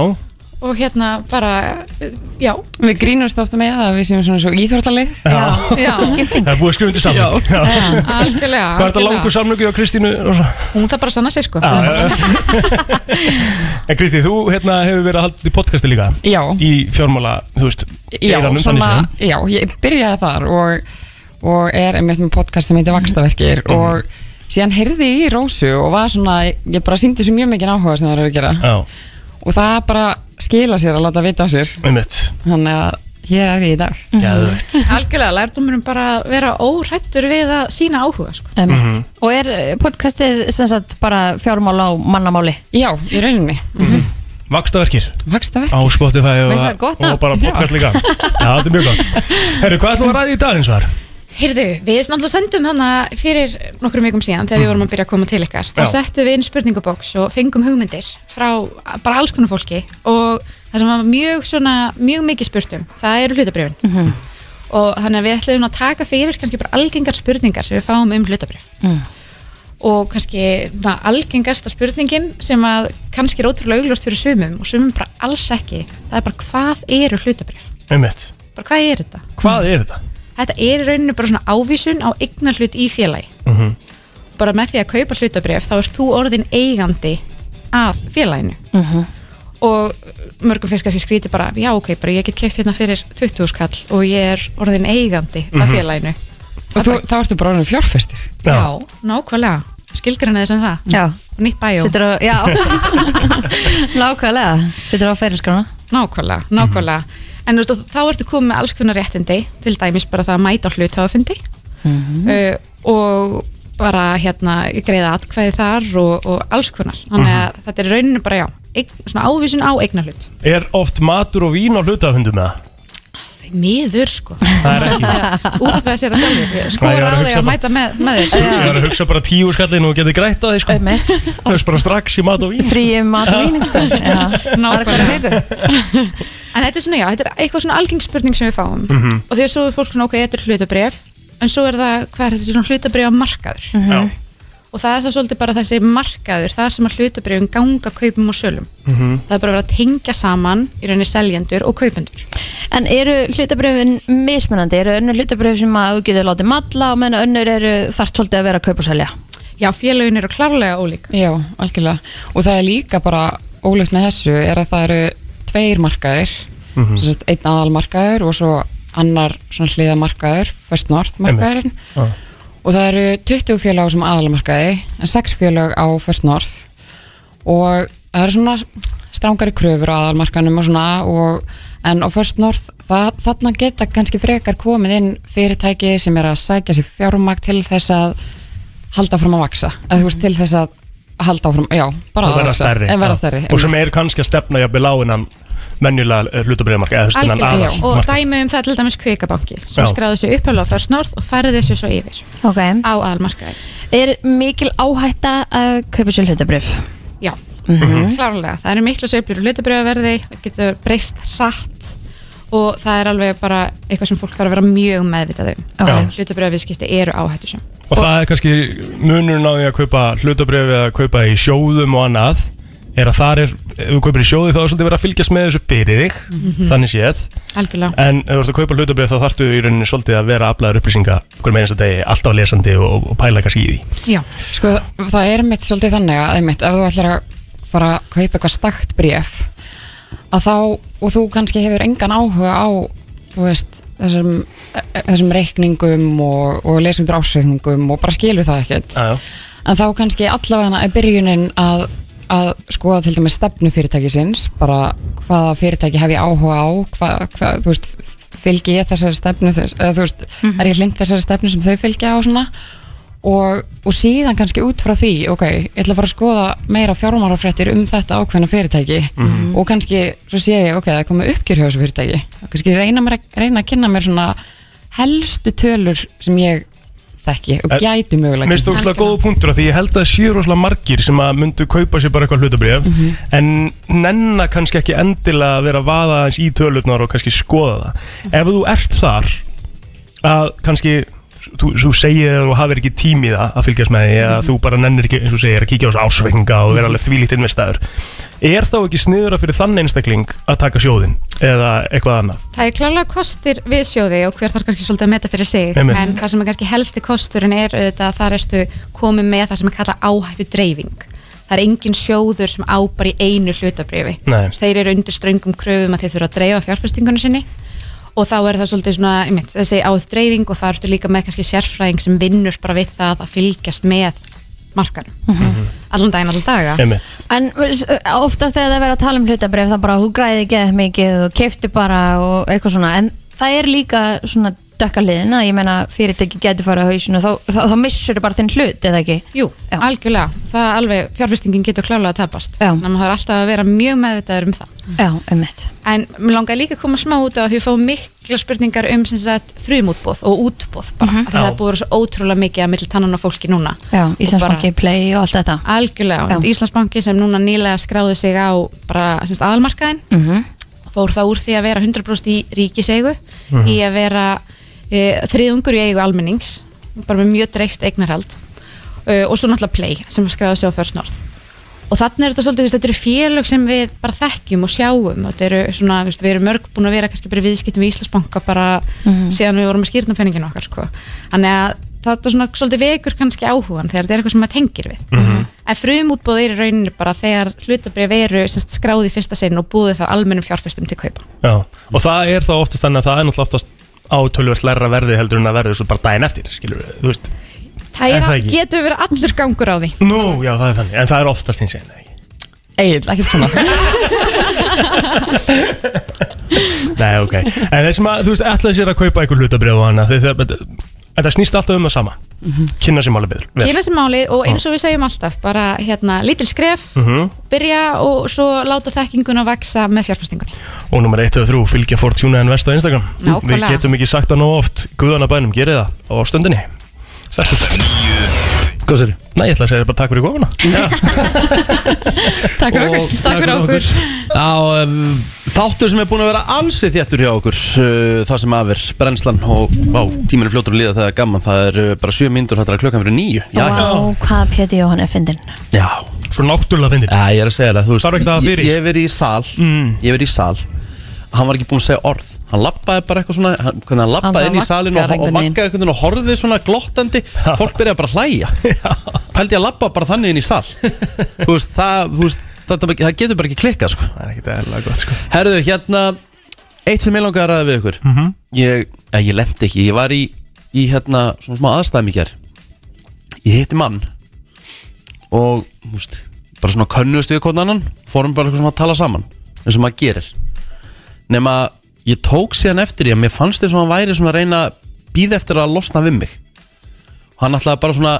og hérna bara, eh, já.
Við grínumst ofta með það að við séum svona svo íþórtalið
Já, já.
skipting
það er búið að skrifa undir samling Já.
Algjörlega.
Hvað er þetta
algjörlega.
langur samlingu á Kristínu? Rósa?
Hún þarf bara að sanna sig sko.
Já, já. En Kristín, þú hérna, hefur verið að halda í podcasti líka
Já,
í fjármála, þú veist,
já,
geiranum,
svona,
þannig séð.
já, ég byrjaði þar og, og er einmitt með podcast sem heitir Vakstaverkir
Mhm.
og síðan heyrði ég í Rósu og var svona, ég bara síndi svo mjög mikið áhuga sem það eru að gera
Já,
og það bara skila sér að láta vita á sér
einmitt Mhm.
þannig að hér er ég í dag
Geðveikt.
Algjörlega, lærdomurum bara að vera órættur við að sína áhuga sko.
um,
Mhm.
Og er eh, podcastið sem sagt bara fjármála og mannamáli
Já, í rauninni,
Vaxtaverkir
Vakstaverk
á Spotify og,
Veist það gott
og
nafn?
bara podcast líka Já, þetta er mjög gott Herru, hvað ætlum við að ræða í dag eins og þar?
Heyrðu, við náttúrulega sendum þannig fyrir nokkrum vikum síðan þegar við vorum að byrja að koma til ykkar þá
Já.
settum við inn spurningabóks og fengum hugmyndir frá bara alls konar fólki og það sem var mjög svona mjög mikið spurtum, það eru hlutabrifin
Mhm,
og þannig að við ætlum að taka fyrir kannski bara algengar spurningar sem við fáum um hlutabrif
mhm.
og kannski na, algengasta spurningin sem að kannski er ótrúlega augljóst fyrir sumum og sumum bara alls ekki það er bara hvað eru hlutabrif?
Einmitt,
Bara hvað er þetta?
hvað er þetta?
þetta er í rauninu bara svona ávísun á eignar hlut í félagi
Mhm.
bara með því að kaupa hlutabref þá ert þú orðin eigandi að félaginu og mörgum finnst kannski skríti bara já ok, bara ég get keft hérna fyrir 20 skall og ég er orðin eigandi að
Mhm.
félaginu
og þú, þá ertu bara orðin fjárfestir
já, nákvæmlega, skilgrinnaði sem það
Já,
og nýtt bæjó,
Sittur á, já Nákvæmlega, sittur á færiskrána
nákvæmlega, nákvæmlega en þú veist, og þá ertu komið með alls konar réttindi til dæmis bara það að mæta á hluthafafundi
Mhm.
uh,
Eh,
og bara hérna greiða atkvæði þar og, og alls konar þannig að
Mhm.
þetta er í rauninu bara já eign, svona ávísun á eignarhlut
Er oft matur og vín á hlutafundum með það?
miður sko
Það er ekki
útvega sér að sjálfur
Nei, ég var
skora
að
á þig
hugsa
að
bara-
mæta með, með þér
Ég var að hugsa bara tíu skallin og getið grætt á því sko Það er bara strax í mat og vín
Fríum um mat og víningstar Nákvæmlega
en þetta er svona já, þetta er eitthvað svona algengspurning sem við fáum
Mhm.
og því að svo er fólk svona ok, þetta er hlutabref en svo er það, hvað er þetta svona hlutabref markaður
Mhm.
Já,
og það er þá svolítið bara þessi markaður það sem að hlutabrefum ganga kaupum og sölum
Mhm.
það er bara að vera að tengja saman í rauninni seljendur og kaupendur
En eru hlutabröfin mismunandi? Eru önnur hlutabröf sem að þú getur látið matla og menn önnur eru þart svolítið að vera að kaupa og selja?
já, félögin eru klárlega ólík
Já, algjörlega og það er líka bara ólögt með þessu er að það eru tveir markaðir mm -hmm. einn aðalmarkaður og svo annar svona hliðamarkaður First North markaðurinn
Já.
og það eru 20 félag á sem aðalmarkaði en 6 félag á First North og það eru svona strángari kröfur á aðalmarkaðnum og svona og, en á First North það, þarna geta kannski frekar komið inn fyrirtæki sem er að sækja sér fjármagn til þess að halda áfram að vaksa eða þú veist til þess að halda áfram, já, bara
og
að
verða
vaxa
stærri
en
Já.
verða stærri
Og sem er kannski að stefna jafnvel á innan venjulega hlutabriðamarka eða þú veist innan
Algjörlega,
aðal
og dæmi um það er til dæmis kveikabanki sem
Já.
skráði sér upphæfla á First North og færði sér svo yfir
Ok
á aðalmarkaði
Er mikil áhætta að kaupa sér hlutabröf?
já,
Mhm.
Mhm. klárlega, það eru mikla sveiflur og hlutabrjöðverði, það getur breyst hratt og það er alveg bara eitthvað sem fólk þarf að vera mjög meðvitað um
Ok.
Já.
hlutabrjöðviðskipti eru áhættusum
Og það er kannski munurinn á því að kaupa hlutabriði eða kaupa í sjóðum og annað er að þar er, ef þú kaupir í sjóði þá er svolítið verið að fylgjast með þessu fyrir þig
Mhm.
Mhm. þannig séð,
algjörlega,
en ef þú ert að kaupa hlutabrið þá þarftu í rauninni svolítið að vera aflaður upplýsinga hverjum einasta degi, alltaf lesandi og, og pæla kannski í því
já,
Sko, það er mitt svolítið þannig að einmitt, ef þú ætlar að fara að kaupa eitthvað stakt bréf að þá, og þú kannski hefur engan áhuga á þú veist, þessum, e- e- þessum reikningum og, og lesum drásreikningum og bara skilur það ekkert
Já, já.
en þá kannski allavega er byrjunin að, að skoða til dæmis stefnu fyrirtækisins, bara hvaða fyrirtæki hef ég áhuga á hvað, hvað, þú veist, fylgi ég þessari stefnu þess, eða þú veist, er ég hlind þessari stefnu sem þau fylgja á svona og, og síðan kannski út frá því ok, ég ætla að fara að skoða meira fjármárafréttir um þetta ákveðna fyrirtæki og kannski, svo sé ég, ok, það er komið uppgjör hjá þessu fyrirtæki, kannski reyna, mér, að- reyna að kynna mér svona helstu tölur sem ég þekki og gæti mögulega
Mér stókst það góða punktur að því ég held að séu rosalega margir sem að myndu kaupa sér bara eitthvað hlutabrif en nenna kannski ekki endilega að vera að vaða aðeins í tölurnar og kannski skoða það Ef þú ert þar að kannski þú, þú segir þér og hafir ekki tími í það að fylgjast með því eða þú bara nennir ekki eins og segir að kíkja á þessu ásvenga og vera alveg þvílíkt investaður Er þá ekki sniðura fyrir þann einstakling að taka sjóðin eða eitthvað annað?
Það er klálega kostir við sjóði og hver þarf kannski svolítið að meta fyrir sig
Einmitt.
en það sem er kannski helsti kosturinn er auðvitað að þar ertu komið með það sem er kallað áhættu dreifing það er engin sjóður sem ábar í einu hlutabrifi
Nei.
þeir eru undir ströngum kröfum að þeir þurfa að dreifa fjárfestingunum sinni og þá er það svolítið svona einmitt, þessi áhættu dreifing og það ertu líka með kannski sérfræðing sem vinnur bara við það að fylgjast með markanum
Mhm.
allan daginn, allan daga
Emmett
En s- oftast þegar það verður að tala um hlutabref það bara, þú græði ekki eða mikið og keifti bara og eitthvað svona en það er líka svona dökka liðina ég meina fyrirtæki getur farið á hausinu þá, þá, þá missur bara þinn hlut eða ekki
Jú,
Já.
algjörlega, það er alveg fjárfestingin getur klálega að tapast
Já.
þannig að það er alltaf að vera mjög meðvitaður um það
Já, ummitt
en mér langaði líka að koma smá út á að því við fáum mikla spurningar um sem sagt, frumútbóð og útbóð bara,
Mhm.
mm það er búið að vera svo ótrúlega mikið að milli tannan á fólki núna
Já,
Og
Íslandsbanki, Play og allt þetta
algjörlega,
Já.
og Íslandsbanki sem núna nýlega skráði sig á bara sem sagt, aðalmarkaðin
mm -hmm.
fór það úr því að vera 100% í ríkiseigu
Mhm.
Mhm.
í að vera e, þriðungur í eigu almennings bara með mjög dreift eignarhald e, og svo náttúrulega Play sem skráði sig á First North og þannig er þetta svolítið, viðst, þetta eru félög sem við bara þekkjum og sjáum og þetta eru svona, viðst, við erum mörg búin að vera kannski bara í viðskiptum í Íslandsbanka bara síðan við vorum að skýrna penninginu okkar sko. þannig að þetta svona svolítið vekur kannski áhugan þegar þetta er eitthvað sem maður tengir við
Mhm.
en frumútbóð er í rauninu bara þegar hlutabrið veru semst, skráði fyrsta sinn og búið þá almennum fjárfestum til kaupa
Já, og það er þá oftast þannig að það er náttúrulega oftast á tölvöld lærra verði heldur en að verði svo bara daginn eftir, skilur við, þú veist
það
Er
er,
það
að,
ekki?
getur verið allur gangur á því
Nú, já, það er þannig, en það er oftast hins veginn, eða ekki?
Egil, ekkert svona
Nei, ok, en þeir sem að, þú veist, ætlaði sér að kaupa einhver hlutabrið og hana, þeir, þeir, þetta- þetta snýst alltaf um það sama kynna sér máli betur vel.
Mhm. kynna sér máli og eins og við segjum alltaf bara hérna lítil skref
Mhm.
byrja og svo láta þekkinguna vaksa með fjárfestingunni
og nummer 1 og 3, fylgja Fortuna en vest á Instagram
Nákvæmlega.
við getum ekki sagt það nóg oft guðana bænum, gerið það á stundinni Sættu það.
Hvað sér?
Nei, ég ætla að segja bara takk fyrir komuna
Takk fyrir okkur Takk fyrir okkur
Á um, þáttur sem er búin að vera ansið þjættur hjá okkur uh, Það sem af er brennslan og vá, tíminu fljótur að líða þegar það er gaman Það er uh, bara 7 mínútur þetta er klukkan fyrir 9 Já, já,
Vá, hvað Pétur Jóhann er fyndin
já
Svo náttúrulega fyndir
Já, ég er að segja það, þú veist
Þarf ekkert að hafa
ég,
fyrir. Mm.
ég hef verið í sal Ég hef verið í sal Hann var ekki búin að segja orð Hann lappaði bara eitthvað svona hann, Hvernig hann
Hann
lappaði hérna inn í
vaggar
salin og, og
einhvern veginn.
vakkaði einhvern veginn og horfði svona glottandi Fólk byrjaði bara að hlæja Pældi að lappa bara þannig inn í sal Þú veist, það, þú veist, þetta, það getur bara ekki klikkað sko.
Það er ekkert eðlilega gott, sko
Herðu, hérna Eitt sem ég langar að ræða við ykkur
Mhm.
Ég, eh, ég lendi ekki, ég var í, í hérna, svona smá aðstæðum í ger Ég hitti mann Og, þú veist Bara svona könnust við hvernig annan Fórum bara eitthvað svona að tala saman eins og maður gerir Nema, ég tók síðan eftir því að Mér fannst þess að hann væri svona að reyna Býð eftir að losna við mig Hann ætlaði bara svona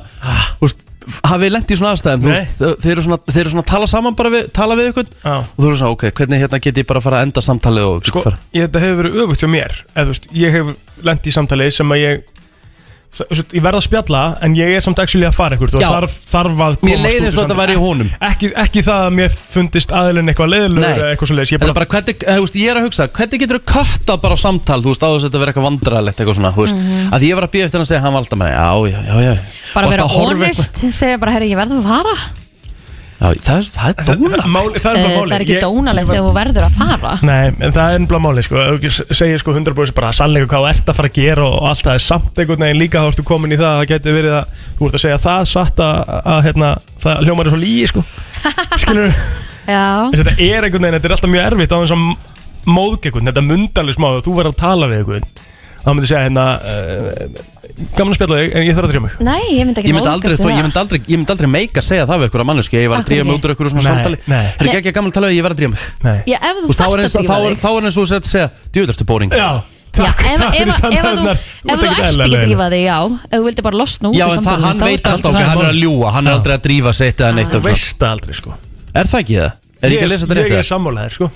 Þú veist hafið lendið í svona aðstæðum þú
Ah. Nei.
veist, þeir, eru svona, þeir eru svona að tala saman bara við, tala við ykkur
Já.
og þú eru svona, ok, hvernig hérna get ég bara að fara að enda samtalið og
sko,
fara-
ég, þetta hefur verið öfugt hjá mér eða, þú veist, ég hef lent í samtali sem að ég það- þú veist, ég verð að spjalla en ég er samt actually að fara eitthvað
Já.
þarf, þarf að
Mér
komast út
leið
úr
eins og þetta
samtali.
væri í honum.
ekki, ekki það að mér fundist aðilinn eitthvað leiðilegur
Nei.
eða eitthvað svo leiðis ég
Þetta er
bara,
bara, hvernig, eh, þú veist, ég er að hugsa, hvernig getur þú köttað bara á samtal, þú veist, á þess að þetta verður eitthvað vandræðilegt eitthvað svona, þú veist, að því ég var að býja eftir hann að segja, hann valda mér, já, já, já, já
Mhm. Bara
Og
vera
alltaf að horfa
honest, segja bara, herri, ég verður að fara
eitthvað- Já, það er, það er dóna
máli, það er
Eh,
bara máli
Það er ekki
Ég-
dónalegt þegar þú verður að fara
Nei, en það er ennblá máli, sko, ef ekki s- segir sko 100% bara sannleika hvað þú ert að fara að gera og, og allt það er samt einhvern veginn líka þá ertu komin í það að það geti verið að þú ert að segja það satt að, að hérna, það hljómar er svo líi, sko skilur,
Já,
Þessi, þetta er einhvern veginn, þetta er alltaf mjög erfitt á þess að móðg einhvern, þetta mundalið smá þú verður að tala við einhvern þá myndi segja hérna uh, gaman að spjalla þig, en ég þarf að drýja mig
nei, ég myndi ekki
Ég myndi aldrei,
móðgast
þó,
við
ég
það.
myndi aldrei, ég myndi aldrei meika að segja það við einhverja mannesku Ég var
Af hverju
að drífa mig
ekki?
út úr einhverju svona
Nei,
samtali
nei.
Herra, ekki ekki að gamla tala við, ég var að drífa mig
Nei.
Já, ef þú
Þú veist, þá er eins
startast
og-
ekki
þá
við
er-
þig
þá er eins og þú sett að segja, djöðlertu bóring
já,
Já,
takk,
ef- ef- ef-
takk fyrir
ef þú-
samræðunar
Ef þú ert ekki að drífa þig, já Ef þú vildi bara losna út
Já,
úr
en það,
samtalinu,
hann
þá
veit
er-
alltaf okkar, hann er að ljúa, hann er aldrei að drífa sig eitt eða neitt
þú
og svona.
veist það aldrei, sko
Er það ekki það? Er ég ekki að lesa þetta
ég,
neitt
ég
það?
er sammálaðir, sko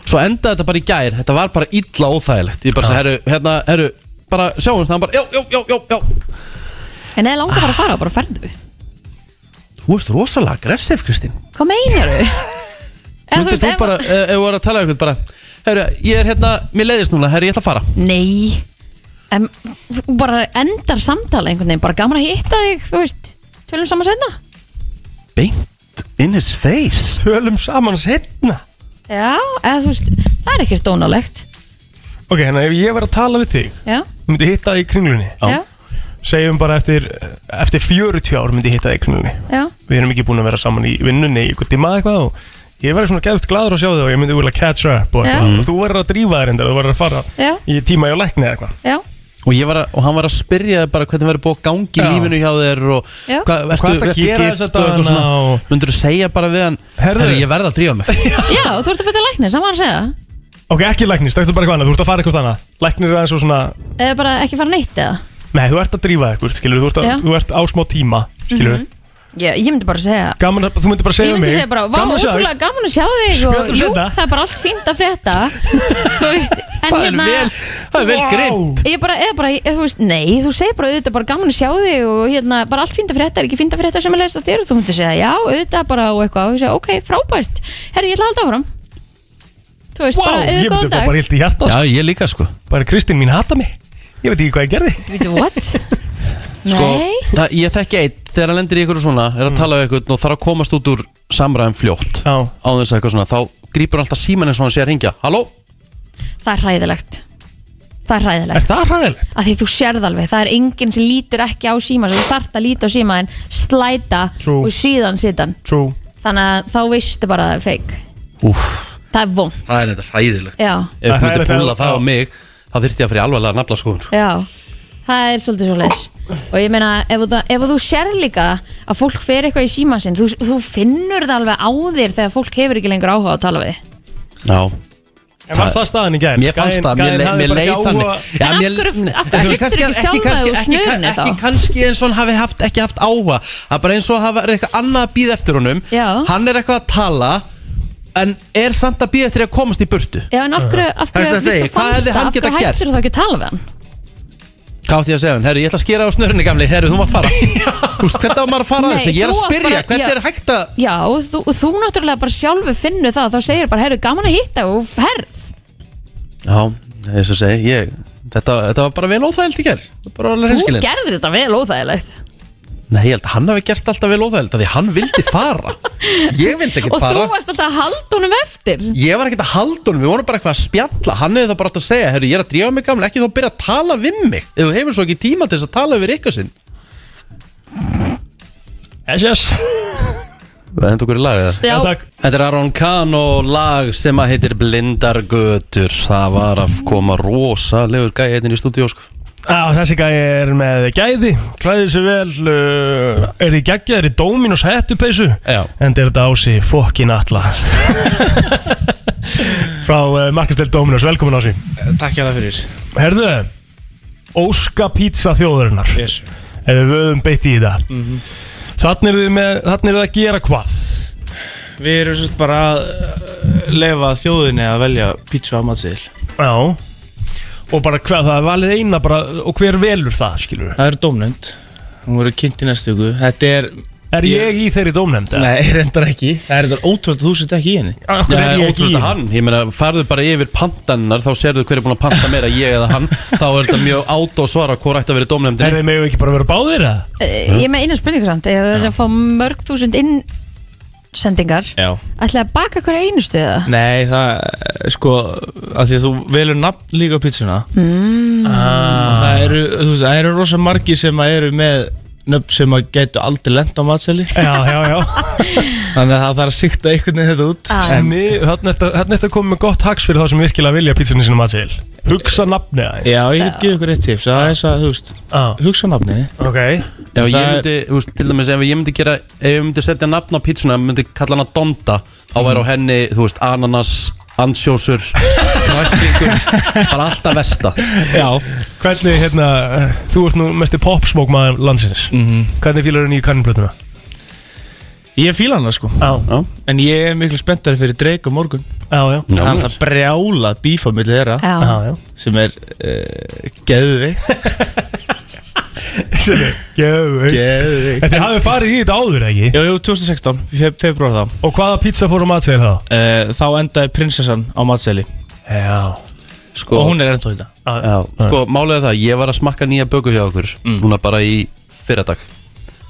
Svo endaði þetta bara í gær, þetta var bara illa óþægilegt Ég bara segi, herru, hérna, herru, bara sjáumst, hann bara, já, já, já, já, já
En eða langar bara að fara, bara ferðu
Þú ert rosalega grefsef, Kristín
Hvað meinar þau?
Myndir þú bara, eh, ef þú var að tala um eitthvað bara Herru, ég er hérna, mér leiðist núna, herru, ég ætla að fara
Nei en, Þú bara endar samtala einhvern veginn Bara gaman að hitta þig, þú veist Tölum saman setna
Beint in his face
Tölum saman setna
Já, eða þú veist, það er ekkert dónalegt
Ok, hérna ef ég verið að tala við þig
Já,
Þú myndi hitta það í kringlunni
já,
Segjum bara eftir, eftir 40 ár myndi ég hitta það í kringlunni
já
Við erum ekki búin að vera saman í vinnunni í ykkur tíma eitthvað og Ég verið svona gæft gladur að sjá þig og ég myndi úrlega catch up og,
Já.
eitthvað.
Mm.
og Þú verður að drífa þér endar, þú verður að fara
Já.
í tíma hjá lækni eða eitthvað
Já,
Og, ég var að, og hann var að spyrja þig bara hvernig verður búið að gangi í
Já.
lífinu hjá þér og
Já.
hvað,
ertu
ertu,
að
ertu
gera þessa
gift og eitthvað
dagana
svona
og-
Myndir þú segja bara við hann
Herðu.
Herru, ég verð að drífa mig sko.
já þú ert að fæta læknir, saman að segja
Ok, ekki læknist, það er bara eitthvað annað, þú ert að fara eitthvað annað Læknir er aðeins og svona,
Eða bara ekki fara neitt eða
nei, þú ert að drífa eitthvað, skilur, þú ert,
Já.
að, þú ert á smá tíma, skilur
Já, ég myndi bara segja
Gaman að, þú myndir bara segja
Ég
við
myndi
mig
segja bara, vá,
Gaman að sjá þig.
ótrúlega gaman að sjá þig og,
Spjöllum
Jú,
seinna.
það er bara allt fínt að frétta Þú veist, en
Það er
hérna
vel, það er vel
Vá.
grinn
Ég bara, eða bara, eða, þú veist, nei, þú segir bara auðvitað bara gaman að sjá þig og hérna, bara allt fínt að frétta, er ekki fínt að frétta sem er leist að þér og þú myndir segja, já, auðvitað bara og eitthvað og þú segja, ok, frábært, herru, ég ætla að halda áfram Þú veist,
Vá,
bara,
ég
eða
myndi
góðan
bara,
dag
bara hilt í hjarta
Já, ég líka sko
Bara Kristín mín hata mig Ég veit ekki hvað ég gerði
Veitu, what?
Sko,
Nei,
það, Ég þekki eitt, þegar hann lendir í ykkur svona Er að tala við ykkur og þarf að komast út úr samræðum fljótt
Mm. Já,
Á þess að eitthvað svona, þá grípur hann alltaf síman eins og hann sé að ringja Halló?
það er hræðilegt Það er
er
hræðilegt,
það hræðilegt?
af því þú sérð alveg það er enginn sem lítur ekki á síma sem þú þarft að líta á síma en slæta
True.
og síðan sitan
True
þannig að þá veistu bara að það er fake
Úff,
það er vond,
það er þetta hræðilegt
já,
Ef
Það
þú
er
myndir
hræðilegt,
púla
já.
það á mig þá þyrfti ég að fyrir alvarlega nafla skoðun sko.
já það er svolítið svo leis og ég meina, ef, þú- ef þú sér líka að fólk fer eitthvað í síma sinn, þú, þú finnur það alveg á þér þegar fólk hefur ekki lengur áhuga á að tala við þig.
Já,
En var það staðan í gær?
mér fannst það, mér, le- mér leið þannig
En
Já,
af
mér-
hverju-
Nei,
af hverju hristir
kannski-
ekki sjálfa þig úr
kannski- ekki-
snörunni þá?
Ekki kannski eins og hann hafi haft, ekki haft áhuga Það er bara eins og hafa er eitthvað annað að býða eftir honum
Já.
Hann er eitthvað að tala En er samt að býða eftir að komast í burtu
já, en af hverju, af
Það
hverju,
er það að segja,
víst þú
hvað
fannst
hefði
það,
hann
af
getað
hverju
gert?
hættur þú þá ekki að tala við hann
Hvað átti ég að segja hann? Herru, ég ætla að skera á snörunni gamli Herru, þú mátt fara Þú veist, Hvernig á maður að fara
Nei,
þessu? Ég er
þú
að
átt
spyrja,
bara-
hvernig
já.
er hægt að
Já, og þú, og þú náttúrulega bara sjálfu finnur það þá segir bara, herru, gaman að hitta og ferð
Já, þess að segja, ég Þetta, þetta var bara vel óþægild í gerð Bara alveg
Þú
hreinskilin
gerðir þetta vel óþægilegt
Nei, ég held að hann hafi gert alltaf vel óþægild af Því hann vildi fara Ég vildi ekkert
Og
fara
þú varst alltaf að halda honum eftir
Ég var ekkert að halda honum, við vorum bara eitthvað að spjalla Hann hefði þá bara átt að segja, herru, ég er að drífa mig gamla Ekki þá byrja að tala við mig Ef þú hefur svo ekki tíma til þess að tala yfir ykkur sinn
Yes, yes
Það hendur okkur í lagið það
Já,
Takk
Þetta er Aron Kahn og lag sem að heitir Blindargötur Það var að koma rosalegur gæði hérna í stúdíu sko.
Á, þessi gæi er með gæði, klæði sig vel, uh, er í geggja, er í Dominos hættupeysu,
Já.
en er þetta ási fokkin alla. Frá uh, markastel Dominos, velkomin ási.
Eh, Takk hjá það fyrir
Herðu, Óska pizza þjóðurinnar,
yes. Mhm.
ef við höfum beitt í þetta. Mm Þannig er þið með- þarna eru þið að gera hvað?
Við erum sérst bara að uh, lefa þjóðinni að velja pizza á matseðil
Já. Og bara hvað, það er valið eina bara, og hver velur það, skilur?
Það er dómnefnd Hún verður kynnt í næstu viku Þetta er,
Er ég í þeirri dómnefnd? eða?
nei, reyndar ekki Það er þetta ótrúlega þú sett ekki í henni
Af hverju
Já,
er ég ekki í
ótrúlega
henni?
hann, ég meina, farðu bara yfir pantannar Þá sérðu hver er búin að panta meira, ég eða hann Þá er þetta mjög át og svara hvort ætti að vera í
Er
dómnefndinni
þið megum við ekki bara vera báðir eða?
eh, ég er með eina spurningu samt Ég er að fá mörg þúsund innsendingar
Já
Ætlaði að baka hverja einustu eða?
Nei, það, eh, sko, að því að þú velur nafn líka á pizzuna
Hmm, Mm.
Ah.
og það eru, þú veist, það eru rosa margir sem að eru með nöfn sem að gætu aldrei lent á matseðli
Já, já, já
Þannig að það þarf að sikta einhvern veginn þetta út
Ah.
En-
Þannig ertu þannig ertu að koma með gott haks fyrir þá sem virkilega vilja pítsunni sinum að til Hugsa nafnið aðeins
Já, ég get gefið ykkur eitt tips Það er þess að, þú veist,
ah,
hugsa nafnið
Ok
Já, ég
Það er-
myndi, þú veist, til dæmis ef ég myndi gera Ef ég myndi setja nafn á pítsuna Myndi kalla hana Donda Þá
Mhm.
væri á henni, þú veist, ananas, ansjósur Kræklingur Bara alltaf vesta
Já
Hvernig, hérna, eh, þú ert nú mesti popsmók maður landsins Hvernig fílar þú nýju kanninblötuna?
Mhm. Ég fíla hana sko
Já,
En ég er miklu spenntari fyrir Drake á morgun
já, já
Það er alltaf brjála bífa millir þeirra
Já,
eh,
Já, já
Sem er uh, geðvikt
sinni Geðveik
Geðvig
Þetta hafið farið í þetta áður, ekki?
Jú, jú, 2016, februar þá
Og hvaða pizza fór á matsegið það?
uh, Þá endaði prinsessan á matseli
Já
Sko,
Og hún er ennþá í þetta
já, sko málega það, ég var að smakka nýja böku hjá okkur
Mm.
Núna bara í fyrradag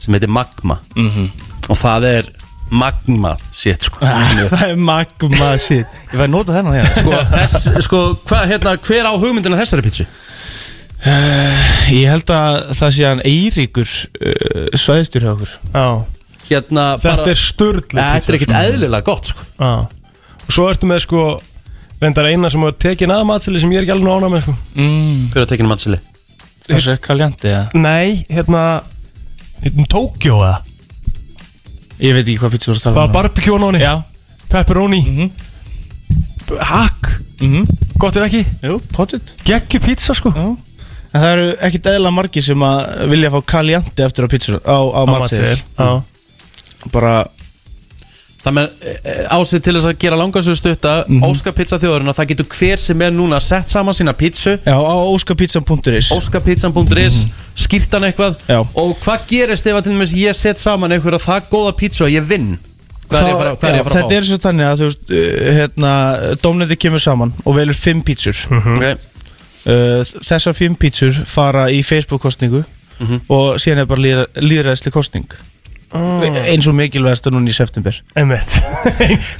Sem heitir Magma
Mhm.
Og það er Magma Sétt sko
Það er magma shit Ég væri að nota þennan hérna
Sko, þess, sko hva, hérna, hver á hugmyndina þessari pítsu?
Eh, Ég held að það sé hann Eiríkur uh, svæðstjur hjá okkur
Já
Hérna,
Þetta
bara,
er sturdlu
Eh, þetta er ekkert eðlilega gott sko
Já Og svo ertu með sko Vendar eina sem var tekin að matsegið sem ég er ekki alveg ána með sko
mm,
Hver er að tekinu mannsili?
Það er kaljandi ja.
Nei, hérna Hérna Tókjó eða
Ég veit ekki hvað pizza voru að
Það
tala um.
var barbecue á nóni
Já
Pepperoni
Mhm.
Hakk
mm
Gott ef ekki
Jú, pottit
Gekkju pizza sko
Já. En það eru ekkit eðla margir sem að vilja fá kaljandi eftir á pizza á, á, á matsegil
Já
Bara
Það með ásið til þess að gera langarsöðu stutta mm
Mhm.
Óska pizza þjóðurinn það getur hver sem er núna sett saman sína pizzu
Já, á óskapizzan.is
óskapizzan.is skýrt hann eitthvað
Já.
og hvað gerist ef að til dæmis ég set saman einhverja það góða pizza að ég vinn hvað er ég að fara,
Þá-
hvað er ég
já,
að, fara
Þetta er svo þannig að þú veist uh, hérna, Dómnefndi kemur saman og velur fimm pítsur
að fá okay.
uh, Þessar fimm pítsur fara í Facebook-kostningu
Mhm.
og síðan er bara líra, líðræðsli kostning
Ah.
eins og mikilvægast núna í september
Einmitt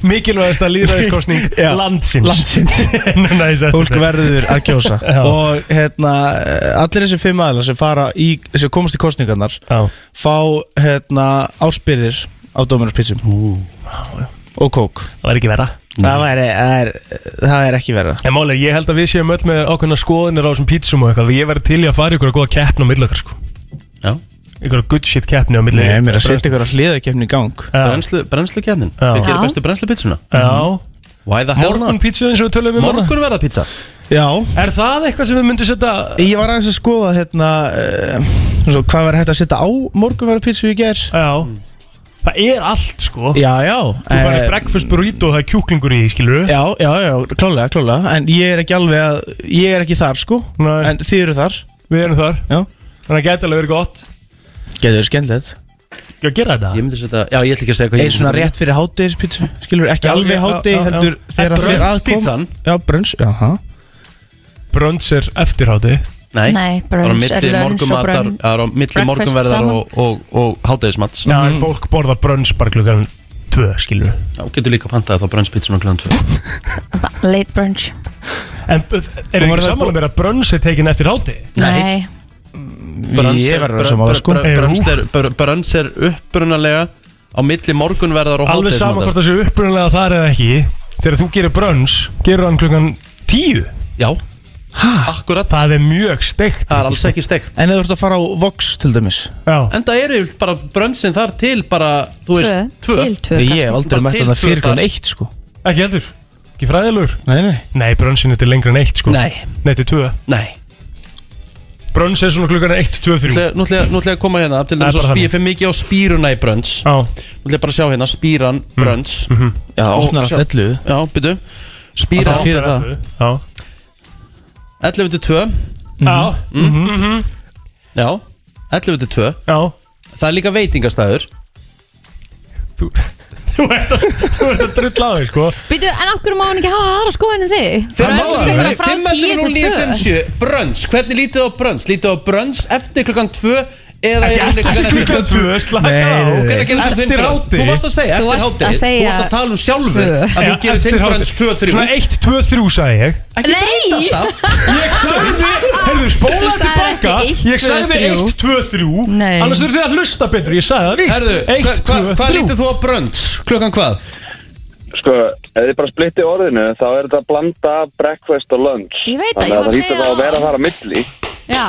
Mikilvægast að líðræðiskostning
Já.
landsins
Landsins.
Nei, sættu
Fólk verður að kjósa
Já.
og hérna, uh, allir þessi fimm aðlar sem, fara í, sem komast í kostningarnar
Já
fá hérna, áspyrðir á Dóminus pítsum og kók
Það var ekki vera
það er, það, er, það er ekki verða
En málega, ég held að við séum öll með ákveðna skoðunir á þessum pítsum og eitthvað Ég verði til í að fara í ykkur að góða keppni á millakar sko
Já.
Ykkur good shit keppni á millakar
Nei, mér er að setja ykkur að hliða kemni í gang
Já,
brennslu, brennslu kefnin
Já.
við gerum
Já.
bestu brennslu pizzuna
já
why the hell
Morgun
not
pítsu eins og við tölum um hana
morgun verða pizza
Já,
Er það eitthvað sem við myndum setja
Ég var aðeins að skoða hérna uh, svo, hvað var hægt að setja á morgunverðu pítsu í ger
Já Það er allt sko
Já, já
Þú
eh,
færði breakfast burrito og það er kjúklingur í, skilur við
Já, já, já, klálega, klálega En ég er ekki alveg að, ég er ekki þar sko
Nei.
En þið eru þar
Við erum þar
Já.
Þannig að geta alveg verið gott
Getur skemmtilegt
Ég að gera þetta
ég myndi setja já ég ætla ekki að segja hvað
Eða
ég
svona rétt fyrir hátegis pítsu Skilur, ekki
Já, já,
alveg hátegi
já, já.
heldur þegar
En
að þeir aðkom
brunchpizzan?
Já, brunch, já, ha
Brunch er eftirháti
nei
Nei,
Það er á
brunch er
milli
lunch og
morgunmatar,
brunch.
það er á milli
Breakfast
morgunverðar
saman. Mhm.
og, og, og hátæðismats
Já, en fólk borða brunch bara klukkan tvö, skilur við
Já, getur líka pantaði þá brennspizzuna kl. 2
Late brunch
En b- er þið
var það
ekki saman með að brunch er tekin eftir háti?
Nei,
Ég verður að samála sko
brunch-
Brönns er upprunalega á milli morgunverðar og
Alveg saman
hátæðismatar
hvort þessu upprunalega þar eða ekki Þegar þú gerir brunch, gerur hann klukkan tíu
Já, akkurat
Það er mjög steikt
Það er alls ekki steikt
En eða þú ert að fara á Vox til dæmis
Já,
Enda eru yfirleitt bara brönsin þar til bara, þú
tvö,
veist, tvö
til tvö
Ég hef
Bara
aldrei mætt
til
að það
tvö
fyrir
þar.
klun eitt sko
ekki heldur Ekki fræðilegur
Nei, nei
Nei, brunchin þetta er lengra en eitt sko
Nei,
Nei, þetta er tvö
nei
Brunch er svona klukkan eitt, tvö,
Nú
þrjú Já,
ætla ég- nú ætla ég nú ætla ég að koma hérna Til
Það er
þess að
bara þannig.
spýja fyrir mikið á spýruna í brönns Nú ætla ég bara að sjá hérna,
Mm.
spýran, brönns
Mhm.
Já, það opnar allt ellu
Já, byrju Spýra
Það fyrir það
já Mhm.
11 til 2
Já,
Já, 11 til 2
já
Það er líka veitingastæður
Þú ert að, þú ert að drulla á þig sko
Býtu, en af hverju má hann ekki hafa aðra sko en þig? Brunch er bara frá 10 til 2
5.11.09.57 Brönns, hvernig lítið á brönns? Lítið á brönns eftir klukkan 2 Eða
Ekki
yfirleitt
eftir klukkan tvö, slaka
Nei,
á
nei, nei.
Hvenær gerir þú þinn
Eftir
brunch?
háti
Þú varst að segja
Þú
eftir
varst að
háti Þú
segja
varst að tala um sjálfur
tvö.
Að þú gerir þinn brönns 2-3
Svona 1, 2, 3 sagði ég
Ekki breyta
Nei.
alltaf
Ég sagði, heyrðu,
Þú
spólaði
sagðir
tilbaka
ekki eitt,
Ég
tvö,
sagði
þrjú.
1, 2, 3
Nei.
Annars þurfið þið að hlusta betur Ég sagði það
Herðu,
víst 1,
hvað
2,
hva
3
lítið þú á brönns? Klukkan hvað?
Sko, ef þið bara splitti orðinu þá er þetta að blanda breakfast og lunch
Ég veit það,
Þannig að
ég var
það hlýtur þá að
að segja það.
vera þar á milli
Já,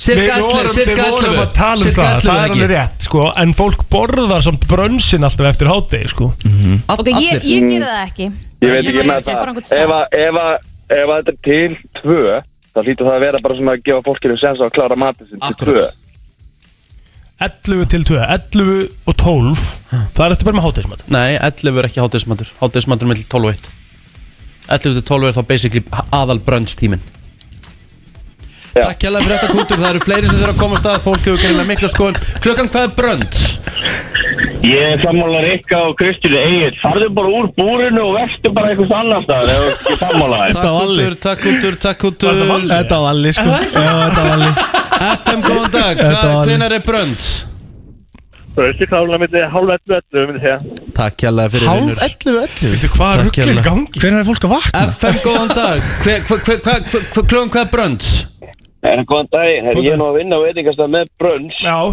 Cirka
Við vorum,
allir,
við
cirka allir
vorum að tala um það, það er alveg rétt sko, En fólk borðar samt brönsin alltaf eftir hátegi sko.
Mhm.
ok, ég,
Allir
ég gerði það ekki
Ég veit ekki
bara
með
sé bara
það
einhvern
Ef,
stað.
að- ef, að- ef að þetta er til tvö þá hlýtur það að vera bara svona að gefa fólkinu sens á að klára matið sinn til tvö
Akkurat
11 til 2, 11 og 12 Það er eftir bara með hátegismat
Nei, 11 er ekki hátismatur Hátismatur er mellir 12 og 1 11 til 12 er þá basically aðal brönns tímin Takk hjá fyrir þetta kútur, það eru fleiri sem þurfa að koma að stað Fólk hefur gerðið með mikla skoðun Klukkan hvað er brönd?
Ég er sammála Rikka og Kristján Egil Farðu bara úr búrinu og vextu bara eitthvað annars staðar ef þú ert ekki sammála þér.
Takk kútur, takk kútur, takk kútur
Þetta var allir sko Já, þetta var allir
FM, góðan dag,
Þetta var Alli.
hvenar er brönd?
Bröðst í klála mitt er hálf 11 11 myndi ég segja.
Takk hjá fyrir vinnur
11
Veitu hvað
Takk
rugglir
hérlega.
gangi?
Hvernig er fólk að vakna?
FM, góðan dag Hver- hver- hver- hvað- hvað- hvað- Klukkan hvað er brönd?
En góðan daginn, herri, ég er nú að vinna á veitingastað með brönns í á,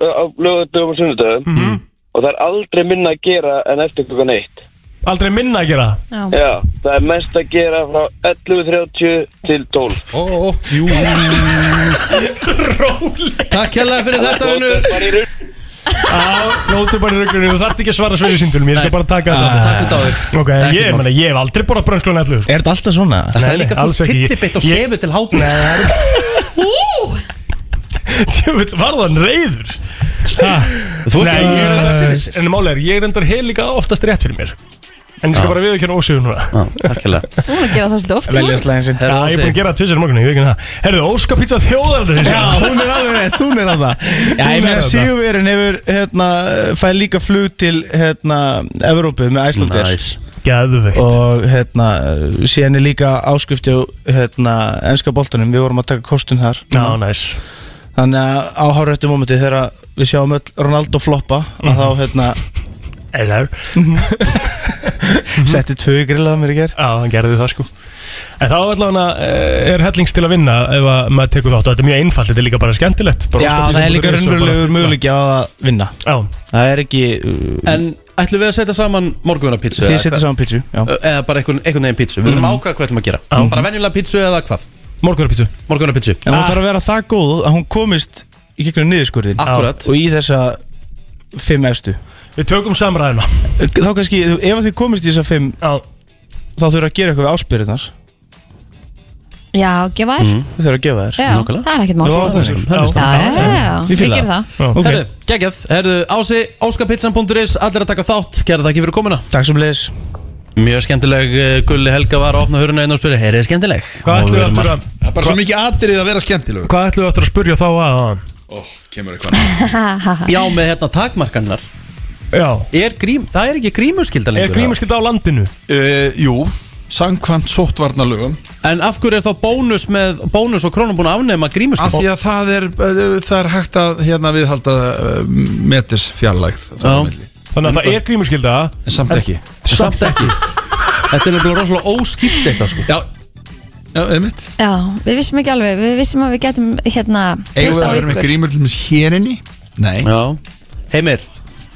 á lögutum og sunnudöfum
Mhm.
og það er aldrei minna að gera en eftir klukkan eitt.
Aldrei minna að gera
Já.
Já, það er mest að gera frá 11.30 til 12.
Ó, ó, jú Takk hjá fyrir þetta vinnur
Nótu bara í rugglunni, þú þarft ekki að svara sveiri síndunum Ég ætla bara að taka þetta
Takk þetta á þér
Ok, ég, meni, ég hef aldrei borðað brönnskólan ellu
Er þetta alltaf svona?
Það
Nei,
er
nei,
líka
alls
fólk
ekki.
fyllibitt og
Ég-
sefur til hátum
Djöfull, var þann reyður
Þú ert ekki að
Nei,
skilja
en máli er, ég reyndar heil líka oftast rétt fyrir mér En ég skal bara viðkjöna ósögur núna
Takk hjá
Þú erum að gera það svolítið oft í
Velja
morgun.
slæðin sinn
Já, ég er búin að gera það tvisir morgunni, ég veit ekki það Herðu, Óskapítsa þjóðar
Já, hún er alveg rétt, hún er að það Já,
Hún
ég
er
meina
þarna.
Sigurverun hefur, hérna, fæði líka flug til, hérna, Evrópu með Æslandir
Gæðveikt
Og, hérna, síðan er líka áskrift á, hérna, ennska boltanum Við vorum að taka kostun þar
Já, næs
Þannig að á hárættu mómenti þegar við sjáum öll Ronaldo floppa Að þá, hérna,
Hello
setti tvö í grillað á mér í ger
Já, hann gerði það sko En þá allavega eh, er hellings til að vinna ef að maður tekur þátt og þetta er mjög einfalt, þetta er líka bara skemmtilegt bara
Já,
óskapítsa
það er líka
punktur is og bara-
raunverulegur möguleiki á að vinna
Já,
Það er ekki, uh,
En ætlum við að setja saman morgunarpítsu
þið
eða
setja
hvað-
saman pítsu Já, Mm.
Eða bara einhvern, einhvern veginn pítsu Við erum ákvað hvað við ætlum að gera Bara venjulega pítsu eða hvað
morgunarpítsu
Morgunarpítsu
en
Ah.
hún þarf að vera það góð að hún komist í gegnum niðurskurðin
Akkurat
og í þessa fimm efstu
Við tökum samræðina
þá kannski, ef að þið komist í þessa fimm
Já,
þá þurfa að gera eitthvað við áspyrirnar
Já, gefa þér
þau þurfa að gefa þér
Já,
Mhm. Nákvæmlega.
það er ekkert mál
Já,
Já,
það er skil.
já,
já, já,
Ég
ég
fíla
ger
það.
það
Ok,
Herðu, geggjað Herðu, Ási, óskapizzan.is Allir að taka þátt Kæra takk fyrir komuna
takk sem leiðis
Mjög skemmtileg eh, Gulli Helga var að opna höruna einn og spyrja Heyrið þið skemmtileg
Hvað
Og
ætlum
við
við
erum
aftur
að-
að
Það er bara svo mikið atrið að vera skemmtilegur
Hvað ætlum við aftur að spurja þá að að-
Ó, kemur eitthvað annað.
Já, með hérna takmarkannar
Já
er grím, Það er ekki grímuskylda lengur
Er grímuskylda á landinu?
Eh, Jú, sangkvæmt sóttvarnalögum
En af hverju er þá bónus með Bónus og krónum búin að afnema
Af því
grímuskylda
að það er, eh, það er hægt að hérna viðhalda
eh,
uh, metis fjarlægð þarna á
Já.
milli.
Þannig að það er grímuskylda
En samt ekki
Samt ekki Þetta er nefnilega rosalega óskipt eitthvað sko
Já, já, eða mitt
Já, við vissum ekki alveg, við vissum að við getum hérna
Eigum
treyst
við
á
að vera með
ykkur.
grímur til þess hérinni? Nei
Já Heimir,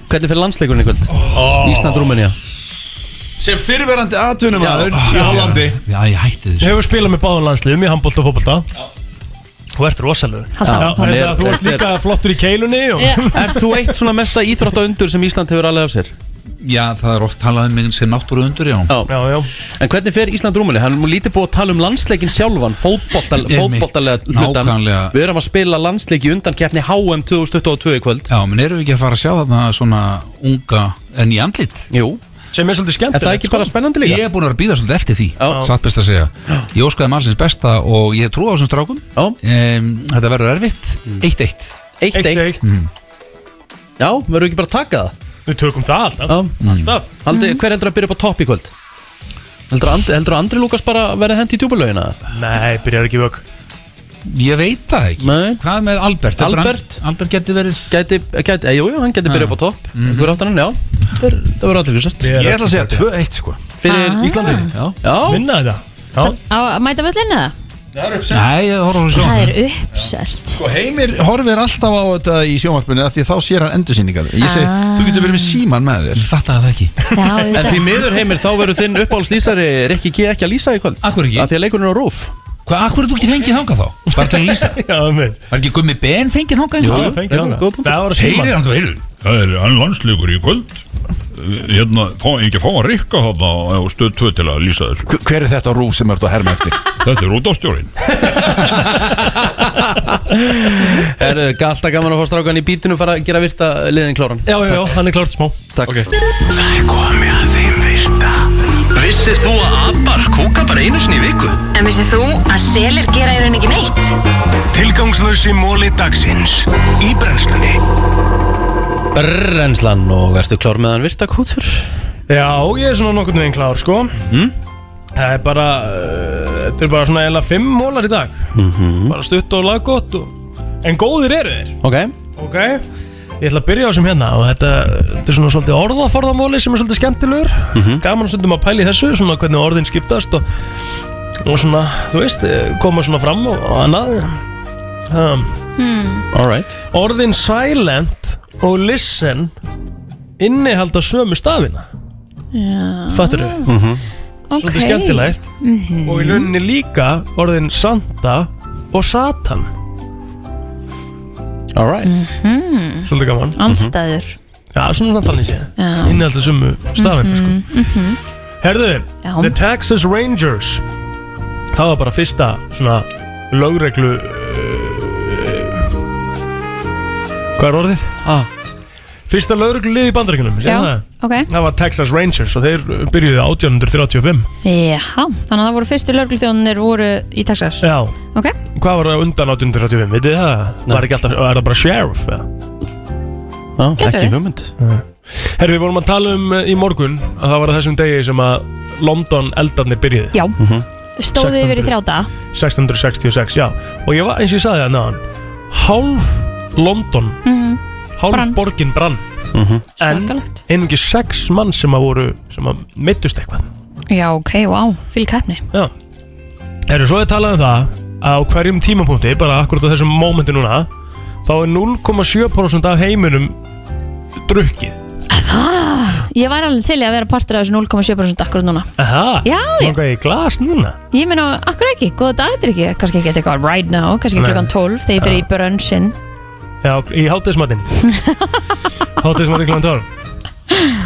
hvernig fyrir landsleikurinn í kvöld? Ísland, Rúmenía
Sem fyrirverandi atvinnumæður í Hollandi Já, ég hætti þessu
Hefur spilað með báðan landsliðum í handbólt og fótbolta Þú ert rosalegur
Halda
Já,
áfram.
þetta- Þú ert líka flottur í keilunni og
Ert þú eitt svona mesta íþrótta undur sem Ísland hefur alveg af sér?
Já, það er oft talað um mig sem náttúru undur, já
Já, já
En hvernig fer Ísland Rúmeni? Hann er nú lítið búið að tala um landsleikin sjálfan fótboltal-
Einmitt.
Fótboltalega hlutan
Nákvæmlega.
Við erum að spila landsleiki undan keppni HM 2022 í kvöld
Já, menn erum við ekki að fara að sjá þarna svona unga enn í andlit
Jú,
Sem er svolítið
en
skemmtilegt
það er ekki bara spennandi
Ég
líka?
er búin að vera að býða svolítið eftir því
Já.
Satt best að segja Ég óskaði mannsins besta og ég trúi á þessum strákum
Já.
um, Þetta verður erfitt
Mm.
Mm. 1-1
Eitt eitt
1-1
Já, verður ekki bara að taka það?
Við tökum það alltaf
Já.
Alltaf
Haldi,
Mm.
Hver heldur að byrja upp á topp í kvöld? Heldur að Andri, heldur að Andri Lúkas bara verði hendi í djúbulögina?
Nei, byrjar ekki vögg
Ég veit það ekki
Nei.
Hvað með Albert? Heldur
Albert?
hann, Albert geti verið Mhm.
Gæti, gæti, eh, jú, jú, hann gæti byrja upp á topp Hver aftan hann, já Þetta er- Þetta verður allir ljósert
Ég Ah.
Ég ætla að segja 2-1 sko
Fyrir Íslandi Já,
Vinna þetta Já
Á að mæta völlinu eða?
Það er uppsett
Nei, ég horfum við
Það
svo
er uppselt
Og Sko, Heimir horfir alltaf á þetta í sjónvarpinu af Því að þá sér hann endursýningar Ég segi,
Ah.
þú getur verið með síman með þér
Fatta það ekki
Já,
En
þetta
því miður heimir þá verður þinn uppáhaldslýsari Rikki G ekki að lýsa í kvöld
Af hverju ekki?
Af Því að leikurinn er á rúf
Hvað, akkur er þú ekki fengið þangað þá? Bara til að lýsa
Já, með
Var ekki Gummi Ben fengið þangað?
Jú,
einhvern tímann?
fengið
þetta er
þangað.
góð punktur.
Það var að
Heyrið
síma
hann, heyrið Það er annan landsleikur í kvöld Hérna, fá, ekki fá að rikka þarna á stöð 2 til að lýsa þessu
Hver er þetta rúf sem ert að herma eftir?
Þetta er útastjórin
Er galt að gaman að fá strákan í bítinu fara að gera virta liðin kláran
Já, já, já, hann er klárt smá
Takk
Það er komið að þeim virta Viss
Vissir þú að abar kúka bara einu sinni í viku?
En vissið þú að selir gera í rauninni ekki neitt?
Tilgangslösi móli dagsins Í brennslunni
Brrrenslan og ertu klár meðan virta kútur?
Já, ég er svona nokkurn veginn klár sko Það er bara uh, Þetta er bara svona eiginlega fimm mólar í dag Bara stutt og laggott og... En góðir eru þeir
Mhm. Ok
Ok Ég ætla að byrja á þessum hérna og þetta, þetta er svona svolítið orðaforðamóli sem er svolítið skemmtilegur Gaman stundum að pæli þessu, svona hvernig orðin skiptast og, og svona, þú veist, eh, koma svona fram og, og annað um,
Hmm.
Alright
Orðin silent og listen innihalda sömu stafina
Já.
Fattur þau? Mm
Mhm.
-hmm.
Ok.
Svolítið skemmtilegt
Mhm.
Og í rauninni líka orðin Santa og Satan
Alright
Mhm.
Svolítið gaman
Andstæður
Já, svona þannig sé
Já.
Innhaldi sumu stafinn mm
Mhm, mhm.
Herðu, The Texas Rangers Það var bara fyrsta svona lögreglu uh, Hvað er orðið? Ah. Fyrsta lögreglu lið í bandaríkunum
Já, ok
Það var Texas Rangers og þeir byrjuðu 1835
Já, þannig að það voru fyrstu lörglþjónir voru í Texas
Já
Ok,
Hvað var það undan 1835? Vitið þið það? Var ekki alltaf, er það bara sheriff? eða?
Já,
Getur
ekki
við.
hugmynd
Eh.
Herri, við vorum að tala um eh, í morgun að það var á þessum degi sem að London eldarnir byrjuði
Já.
Mhm.
-hmm.
stóðu yfir í þrjá daga
1666, já Og ég var, eins og ég sagði það náðan Hálf London,
Mhm.
hálf
Brann.
borgin brann
Mhm.
En einungi sex mann sem að voru sem að meittust eitthvað
Já, ok, wow, því keppni
Já Herru, svo er talað um það að á hverjum tímapunkti, bara akkurat á þessum mómenti núna þá er 0,7% af heiminum drukkið
Það, ég væri alveg til í að vera partur af þessu 0,7% akkur núna
Aha,
Já, já.
langaði í glas núna
Ég meina, akkur ekki, góða dagir ekki Kannski ekki eitthvað right now, kannski
Nei.
klukkan 12 Þegar ég fyrir í brönnsinn
Já, í hátismatinn Hátismatinn kl. 12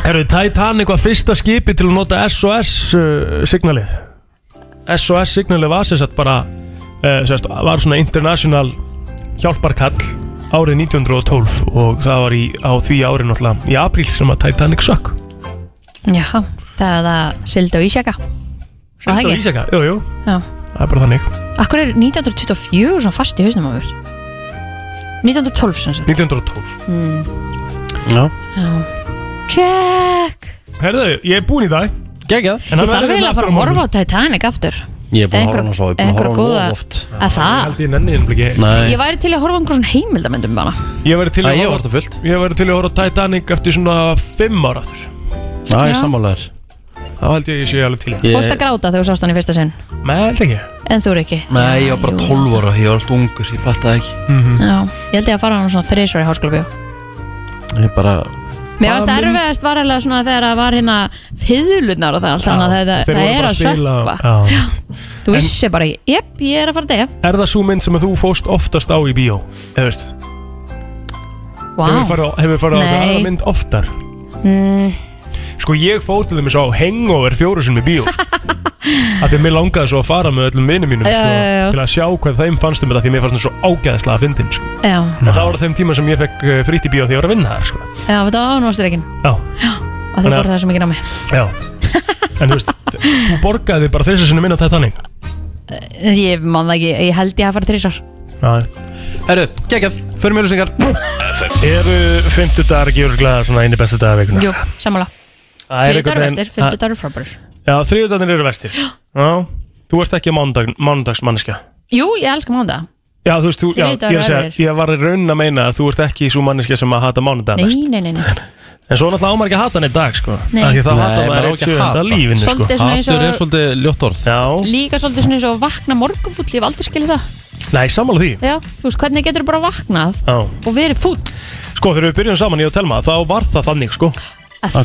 Herru, Titanic var fyrsta skipi til að nota SOS uh, signalið SOS signalið var sem sagt bara uh, sérst, var svona international hjálparkall árið 1912 og það var í, á því árið náttúrulega í apríl sem að Titanic sökk
Já, það er það sildi á Ísjaka Var það
Þetta var
ekki?
ísjaka, jú, jú,
Já.
það er bara þannig
Akkur er 1924 svona fast í hausnum á mér 1912 sem sagt
1912
mm.
Já
Já. Check
Herðu, ég er búin í dag
Gekkjað
Ég þarf eiginlega að fara að horfa á Titanic aftur
Ég er búin að horfa á hana svo, ég er búin að
Einhver-
horfa á hana
einhver
of
góða-
oft
Að það?
Held ég nenni þeim ekki
Ég væri til í að horfa á einhver svona heimildamöndum bara
Ég væri til í
Æ, ég
að
var þetta fullt.
Ég væri til í að horfa á Titanic eftir svona 5 ára aftur
Já, ég er sammálaður
Það held ég að ég sé alveg til í.
Fórst að gráta þegar þú sást hann í fyrsta sinn
Nei, held ekki
En þú er ekki
Nei, ég var bara 12 ára, ég var alltaf ungur, ég fatt það ekki
Mhm.
Já, ég held ég að fara á hann svona þrisvar í háskóla
Ég bara
Mér finnst erfiðast var alveg svona þegar það var hérna fiðlunar og það allt þannig að það, það
Þeir voru
er
bara
að
spila-
sökva
Já.
Þú vissi bara, jep, ég er að fara að deyja
Er það svo mynd sem að þú fóst oftast á í bíó? Eða veist
Vá.
Hefur farið, á- hefur farið á
Nei.
einhverja aðra mynd oftar?
mm,
Sko ég fór til þeimis á Hangover fjóru sinni í bíó sko. Af því að mér langaði svo að fara með öllum vinum mínum
Já,
sko,
já, já.
Til að sjá hvað þeim fannst um þetta Því að mér fannst það svo ágæðislega að fyndin sko.
Já,
En það var á þeim tíma sem ég fekk eh, frítt í bíó því ég var að vinna þar sko.
já, þetta var ánúrstreikin
Já,
og þið
Þannig að-
borðið það svo mikið á mig
já En þú veist, þú borgaði bara þess að sinni minna þetta þannig
Ég man það ekki, ég held ég að fara þrisvar
Herru, geggjað, förum mjölusingar
Eru fimmtudagar ekki örglega svona einu bestu dagar vikuna?
Jú, sammála
Það er
Þriðdagur
einhvern veginn-
vestir, fymtudagur frábær
Já, þriðudagarnir eru vestir Já, þú ert ekki mánudag, mánudagsmanneskja
Jú, ég elska mánda
Já, þú veist, þú, já, ég,
Þriðjudagar
er að segja,
eru
ég var í raunin að meina að þú ert ekki svo manneskja sem að hata mánudag
Nei, nei, nei, nei
En svo náttúrulega ámar ekki að hata hann í dag, sko
Nei.
Af Því það
Nei,
hata
maður á
maður eitt
ekki að
sjöfund
hata.
að lífinu, sko
Svolítið svona eins og- Hatur er
svolítið ljótt orð Já,
Líka svolítið svona eins og vakna morgunfúll, ég hef aldrei skilið það
nei, sammála því
Já, þú veist, hvernig getur bara vaknað
Já
og verið fúll
Sko, þegar við byrjum saman í að telma, þá var það þannig, sko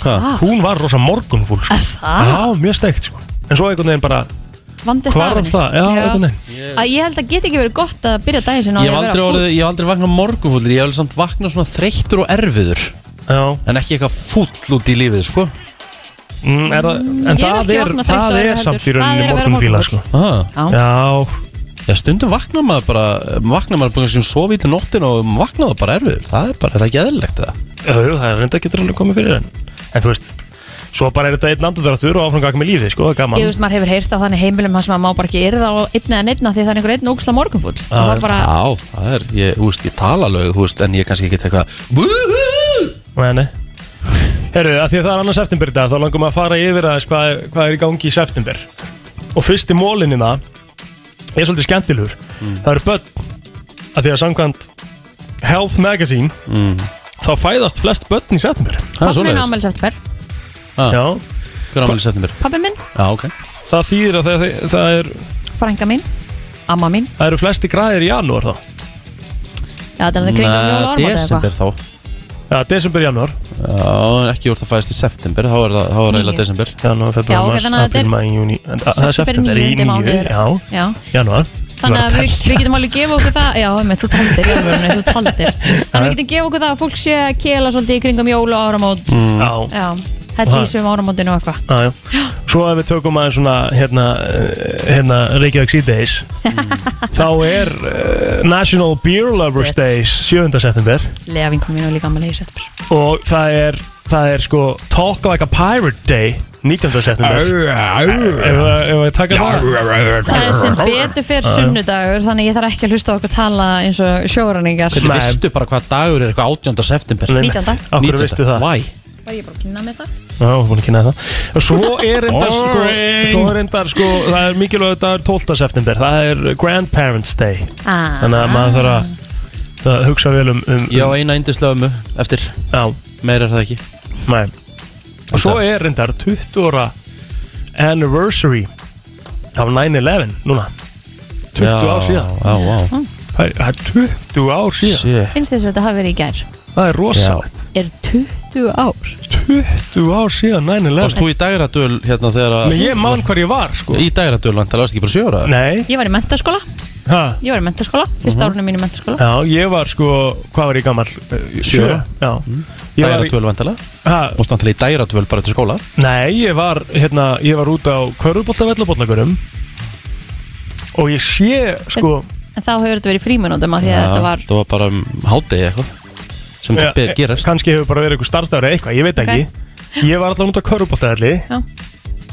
það?
Hún var rosa morgunfúl, sko
það?
Já, mjög steikt, sko En svo einhvern veginn bara
Vandist
Hvarf
af henni.
það? Já, einhvern veginn.
Að Ég held að get ekki verið gott að byrja daginn sinna
Ég hef aldrei, orðið, ég hef aldrei vaknað morgunfúllir, ég hef alveg samt vaknað svona þreyttur og erfiður
Já
En ekki eitthvað fúll út í lífið, sko
mm, er það, Ég er
en
það ekki er- vaknað það þreyttur og er erfiður. samt í rauninni Það er að vera morgunfýla, morgunfúll. sko.
ah.
Já
Já, stundum vaknar maður bara, vaknar maður bara um sem sofi í nóttin og vaknar það bara erfiður Það er bara, er það ekki eðlilegt það?
Jú, jú, það er reynda getur alveg komið fyrir en En þú veist, Svo bara er þetta einn andardráttur og áfram ganga með lífið, sko, það er gaman
Ég veist, maður hefur heyrt á þannig heimilum þar sem maður má bara ekki yrða á einn eða neittna því það er einhver einn ógsla morgunfull og það bara,
Já, það er, ég, þú veist, ég tala lög, þú veist, en ég kannski ekki eitthvað Woohoo!
Nei, nei Herru, að því að það er annars september í dag þá langum við að fara yfir aðeins hvað, hvað er í gangi í september og fyrsti mólinina er svolítið skemmtilegur það eru börn að því að samkvæmt Health Magazine þá fæðast flest börn í september
pappi minn ámæli september
Ah.
Já
Hver ámæli september?
pappi minn,
Já, ok
Það þýðir að það, það, er,
frænga mín amma mín,
það eru flesti græðir í janúar þá
já þetta er það kringa jóla ormóta eða eitthvað
desember þá
Já, desember, janúar
Já, ekki úr það fæðist í september, þá er það, þá er það eiginlega desember
Janúar,
Já, ok, þannig að þetta er-
Það er september í
níundi
nýju
mánuður.
Já,
Já.
janúar
Þannig að við, við getum alveg gefa okkur það Já, með, þú taldir, já, þú taldir Þannig að við getum gefa okkur það að fólk sé að kela svolítið í kringum jóla og áramót
Mm. Já.
Já, þetta
Og
í svim áramótinu um og eitthvað
Já, já. Svo ef við tökum aðeins svona hérna, eh, hérna Reykjavík C-Days þá er uh, National Beer Lovers Days 7. september
Lea vinkum mínu líka ammali í september
og það er, það er sko Talk Like a Pirate Day 19. september Eh, Ef að- ef að taka það
Það er sem betur fyrir
Já, já.
sunnudagur Þannig að ég þarf ekki að hlusta á okkur tala eins og sjóraningar
Hvernig veistu bara hvað dagur er eitthvað 18. september?
Nei, nei. 19.. Af
hverju veistu það?
Why?
Var ég bara að kynna með það?
Já, búin að kynna það Og Svo er endar sko,
Boring.
svo er endar sko það er mikilvæg þetta er 12. september það er Grandparents Day
Ah.
þannig að maður þarf að- að hugsa vel um, um
Já, eina yndislega ömmu eftir
Já
Meir er það ekki
Nei Og svo er endar 20 ára anniversary af 9-11 núna 20
Já,
ár síðan
já, vá.
Mm.
Það er- það er 20 ár síðan
Shit.
Finnst þess að þetta hafi verið í gær
Það er rosalegt
Er 20 ár
20 ár síðan 9-11
Varst þú í dægradöl hérna þegar að
Nei, ég man hvar ég var sko
Í dægradöl, hann talaðist ekki bara sjóra
Nei
Ég var í mentaskóla
Ha?
Ég var í mentaskóla, fyrsta árunum mínu í mentaskóla
Já, ég var sko, hvað var ég gammal?
Sjö Mm. ára.
Já Ég var í-
Dægradöl vandala
Ha?
Mást hann tala í dægradöl bara til skóla
Nei, ég var, hérna, ég var út á Körubólta vellabóllagurum Og ég sé, sko
En þá hefur þetta verið fríminútum að því að þetta var
Það var bara um hádegi eitthvað Sem
Ja,
það ber
eh,
gerast
Kannski hefur bara verið einhver starfstæður eða eitthvað, ég veit ekki Ég var allan út á Körubóltavelli
Já.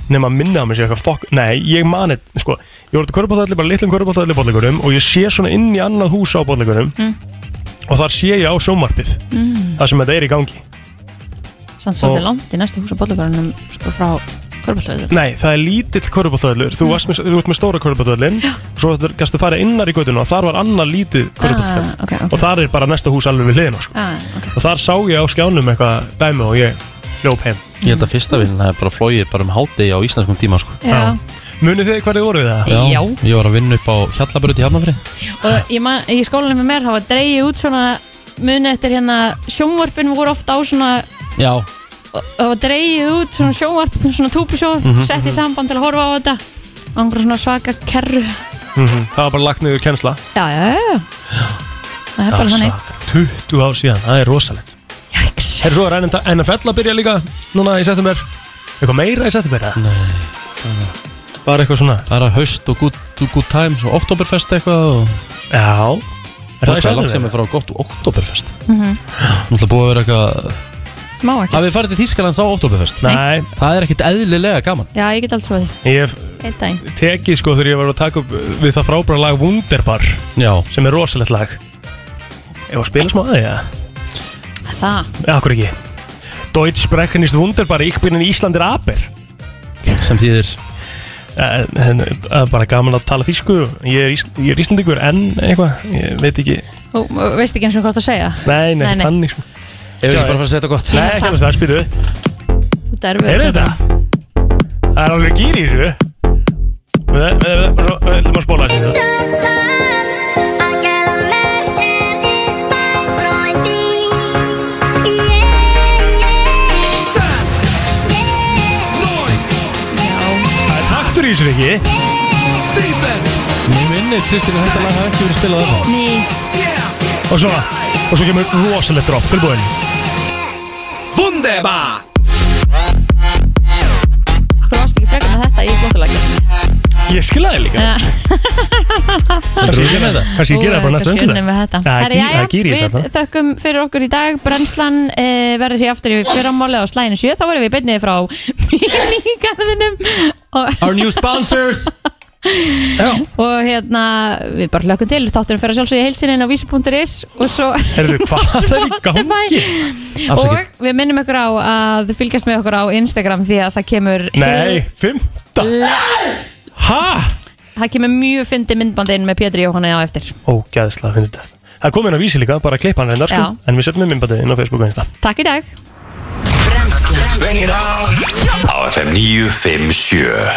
Nefn að minna á mig sér eitthvað fokk Nei, ég mani, sko Ég var út á Körubóltavelli, bara litlum Körubóltavelli bóllagurum Og ég sé svona inn í annað hús á bóllagurum
Mm.
Og þar sé ég á sjónvarpið
Mm.
Það sem þetta er í gangi
Sann
Og-
svolítið langt í næstu hús á bollagarunum Sko frá körbálstöðu
Nei, það er lítill köruboltavöllur Þú varst með, þú ert með stóra köruboltavöllin og svo þetta gæstu að fara innar í göttinu og þar var annar lítið köruboltavöll
Ah, ok, ok.
og þar er bara næsta hús alveg við hliðina sko.
ah, okay.
og þar sá ég á skjánum eitthvað dæmi og ég ljóp heim
Ég held að fyrsta vinnin hafi bara flóið bara um hádegi á íslenskum tíma sko.
Já.
Munið þið hvernig voruð það?
Já. Já.
Ég var að vinna upp á Hjallabröð í Hafnafri
Og ég man, í skólanum með mér þá var dreigið út svona muni eftir hérna sjónvarpin voru ofta á svona
Já
og það var dreigið út svona sjónvarp, svona túpusjónvarp
Mhm,
sett í
mhm.
samband til að horfa á þetta og einhver svona svaka kerru
Mhm. Það var bara lagt niður kennsla
Já, já, já, já Það er bara
Það
þannig
sakar. 20 ár síðan, það er rosalegt
Jæks
Er svo er NFL að byrja líka núna í september Eitthvað meira í september? eða? Bara eitthvað svona
Bara haust og good, good times og oktoberfest eitthvað og...
Já
Er
í
það ekki
september?
langt sem er frá gott oktoberfest
Mhm.
Náttúrulega búið að vera eitthvað
Má ekki
Hafið þið farið til Þýskalands á oktoberfest?
Nei
Það er ekkit eðlilega gaman
Já, ég get alls frá því
Ég
Eitt daginn
tekið sko þegar ég var að taka upp við það frábæra lag Wunderbar
Já.
sem er rosalegt lag Ég var að spila smá aðeins ja.
Það
Akkur ekki Deutsch sprechen ist Wunderbar Ich bin in Íslandir Aber
sem þýðir
Það er eh, bara gaman að tala físku ég er, Ísl ég er Íslandingur en eitthvað ég veit ekki
Þú uh, veist ekki eins og hvort að segja
Nei, nei,
Nei, nei.
þannig sko
Ef ekki bara að fara að setja gott
Nei, ekki alveg það, spyrir við
Þetta er
Heyrðu þetta? Það er alveg gýr í þessu Við við- við- við- svo- við ætlum að spóla þessu Það er taktur í þessu ekki Mér minni, Kristi, við þetta lag hafa ekki verið spilað þarna
Ný
Og svona, og svo kemur rosalegt drop Tilbúin
Wunderbar
Akkur varst ekki frekar með þetta í flottulag
Ég skil að þið líka Kannski ég gera þetta Kannski ég gera það bara næsta
Kannski unnum við þetta.
undir
Herra, jæja,
Það gýr ég
Við
þetta
þökkum fyrir okkur í dag Brennslan uh, verður því aftur í fyrramáli á slæðinu 7 Þá verðum við beinnið frá Míningarðinum
Our new sponsors
Og hérna, við bara hlökkum til Þátturum fyrir sjálfsög í heilsinni á vísi.is Og svo
Herðu, hvað er í gangi? Afsakið.
Og við minnum ykkur á að fylgjast með okkur á Instagram Því að það kemur
Nei, fimm Hæ?
Það kemur mjög fyndi myndbandin með Pétri Jóhanna á eftir
Ógæðslega finnir þetta Það kom inn á vísi líka, bara að klippa hann reyndar sko
Já.
En við setjum með minnbandið inn á Facebook og Insta
Takk í dag
Á FM 957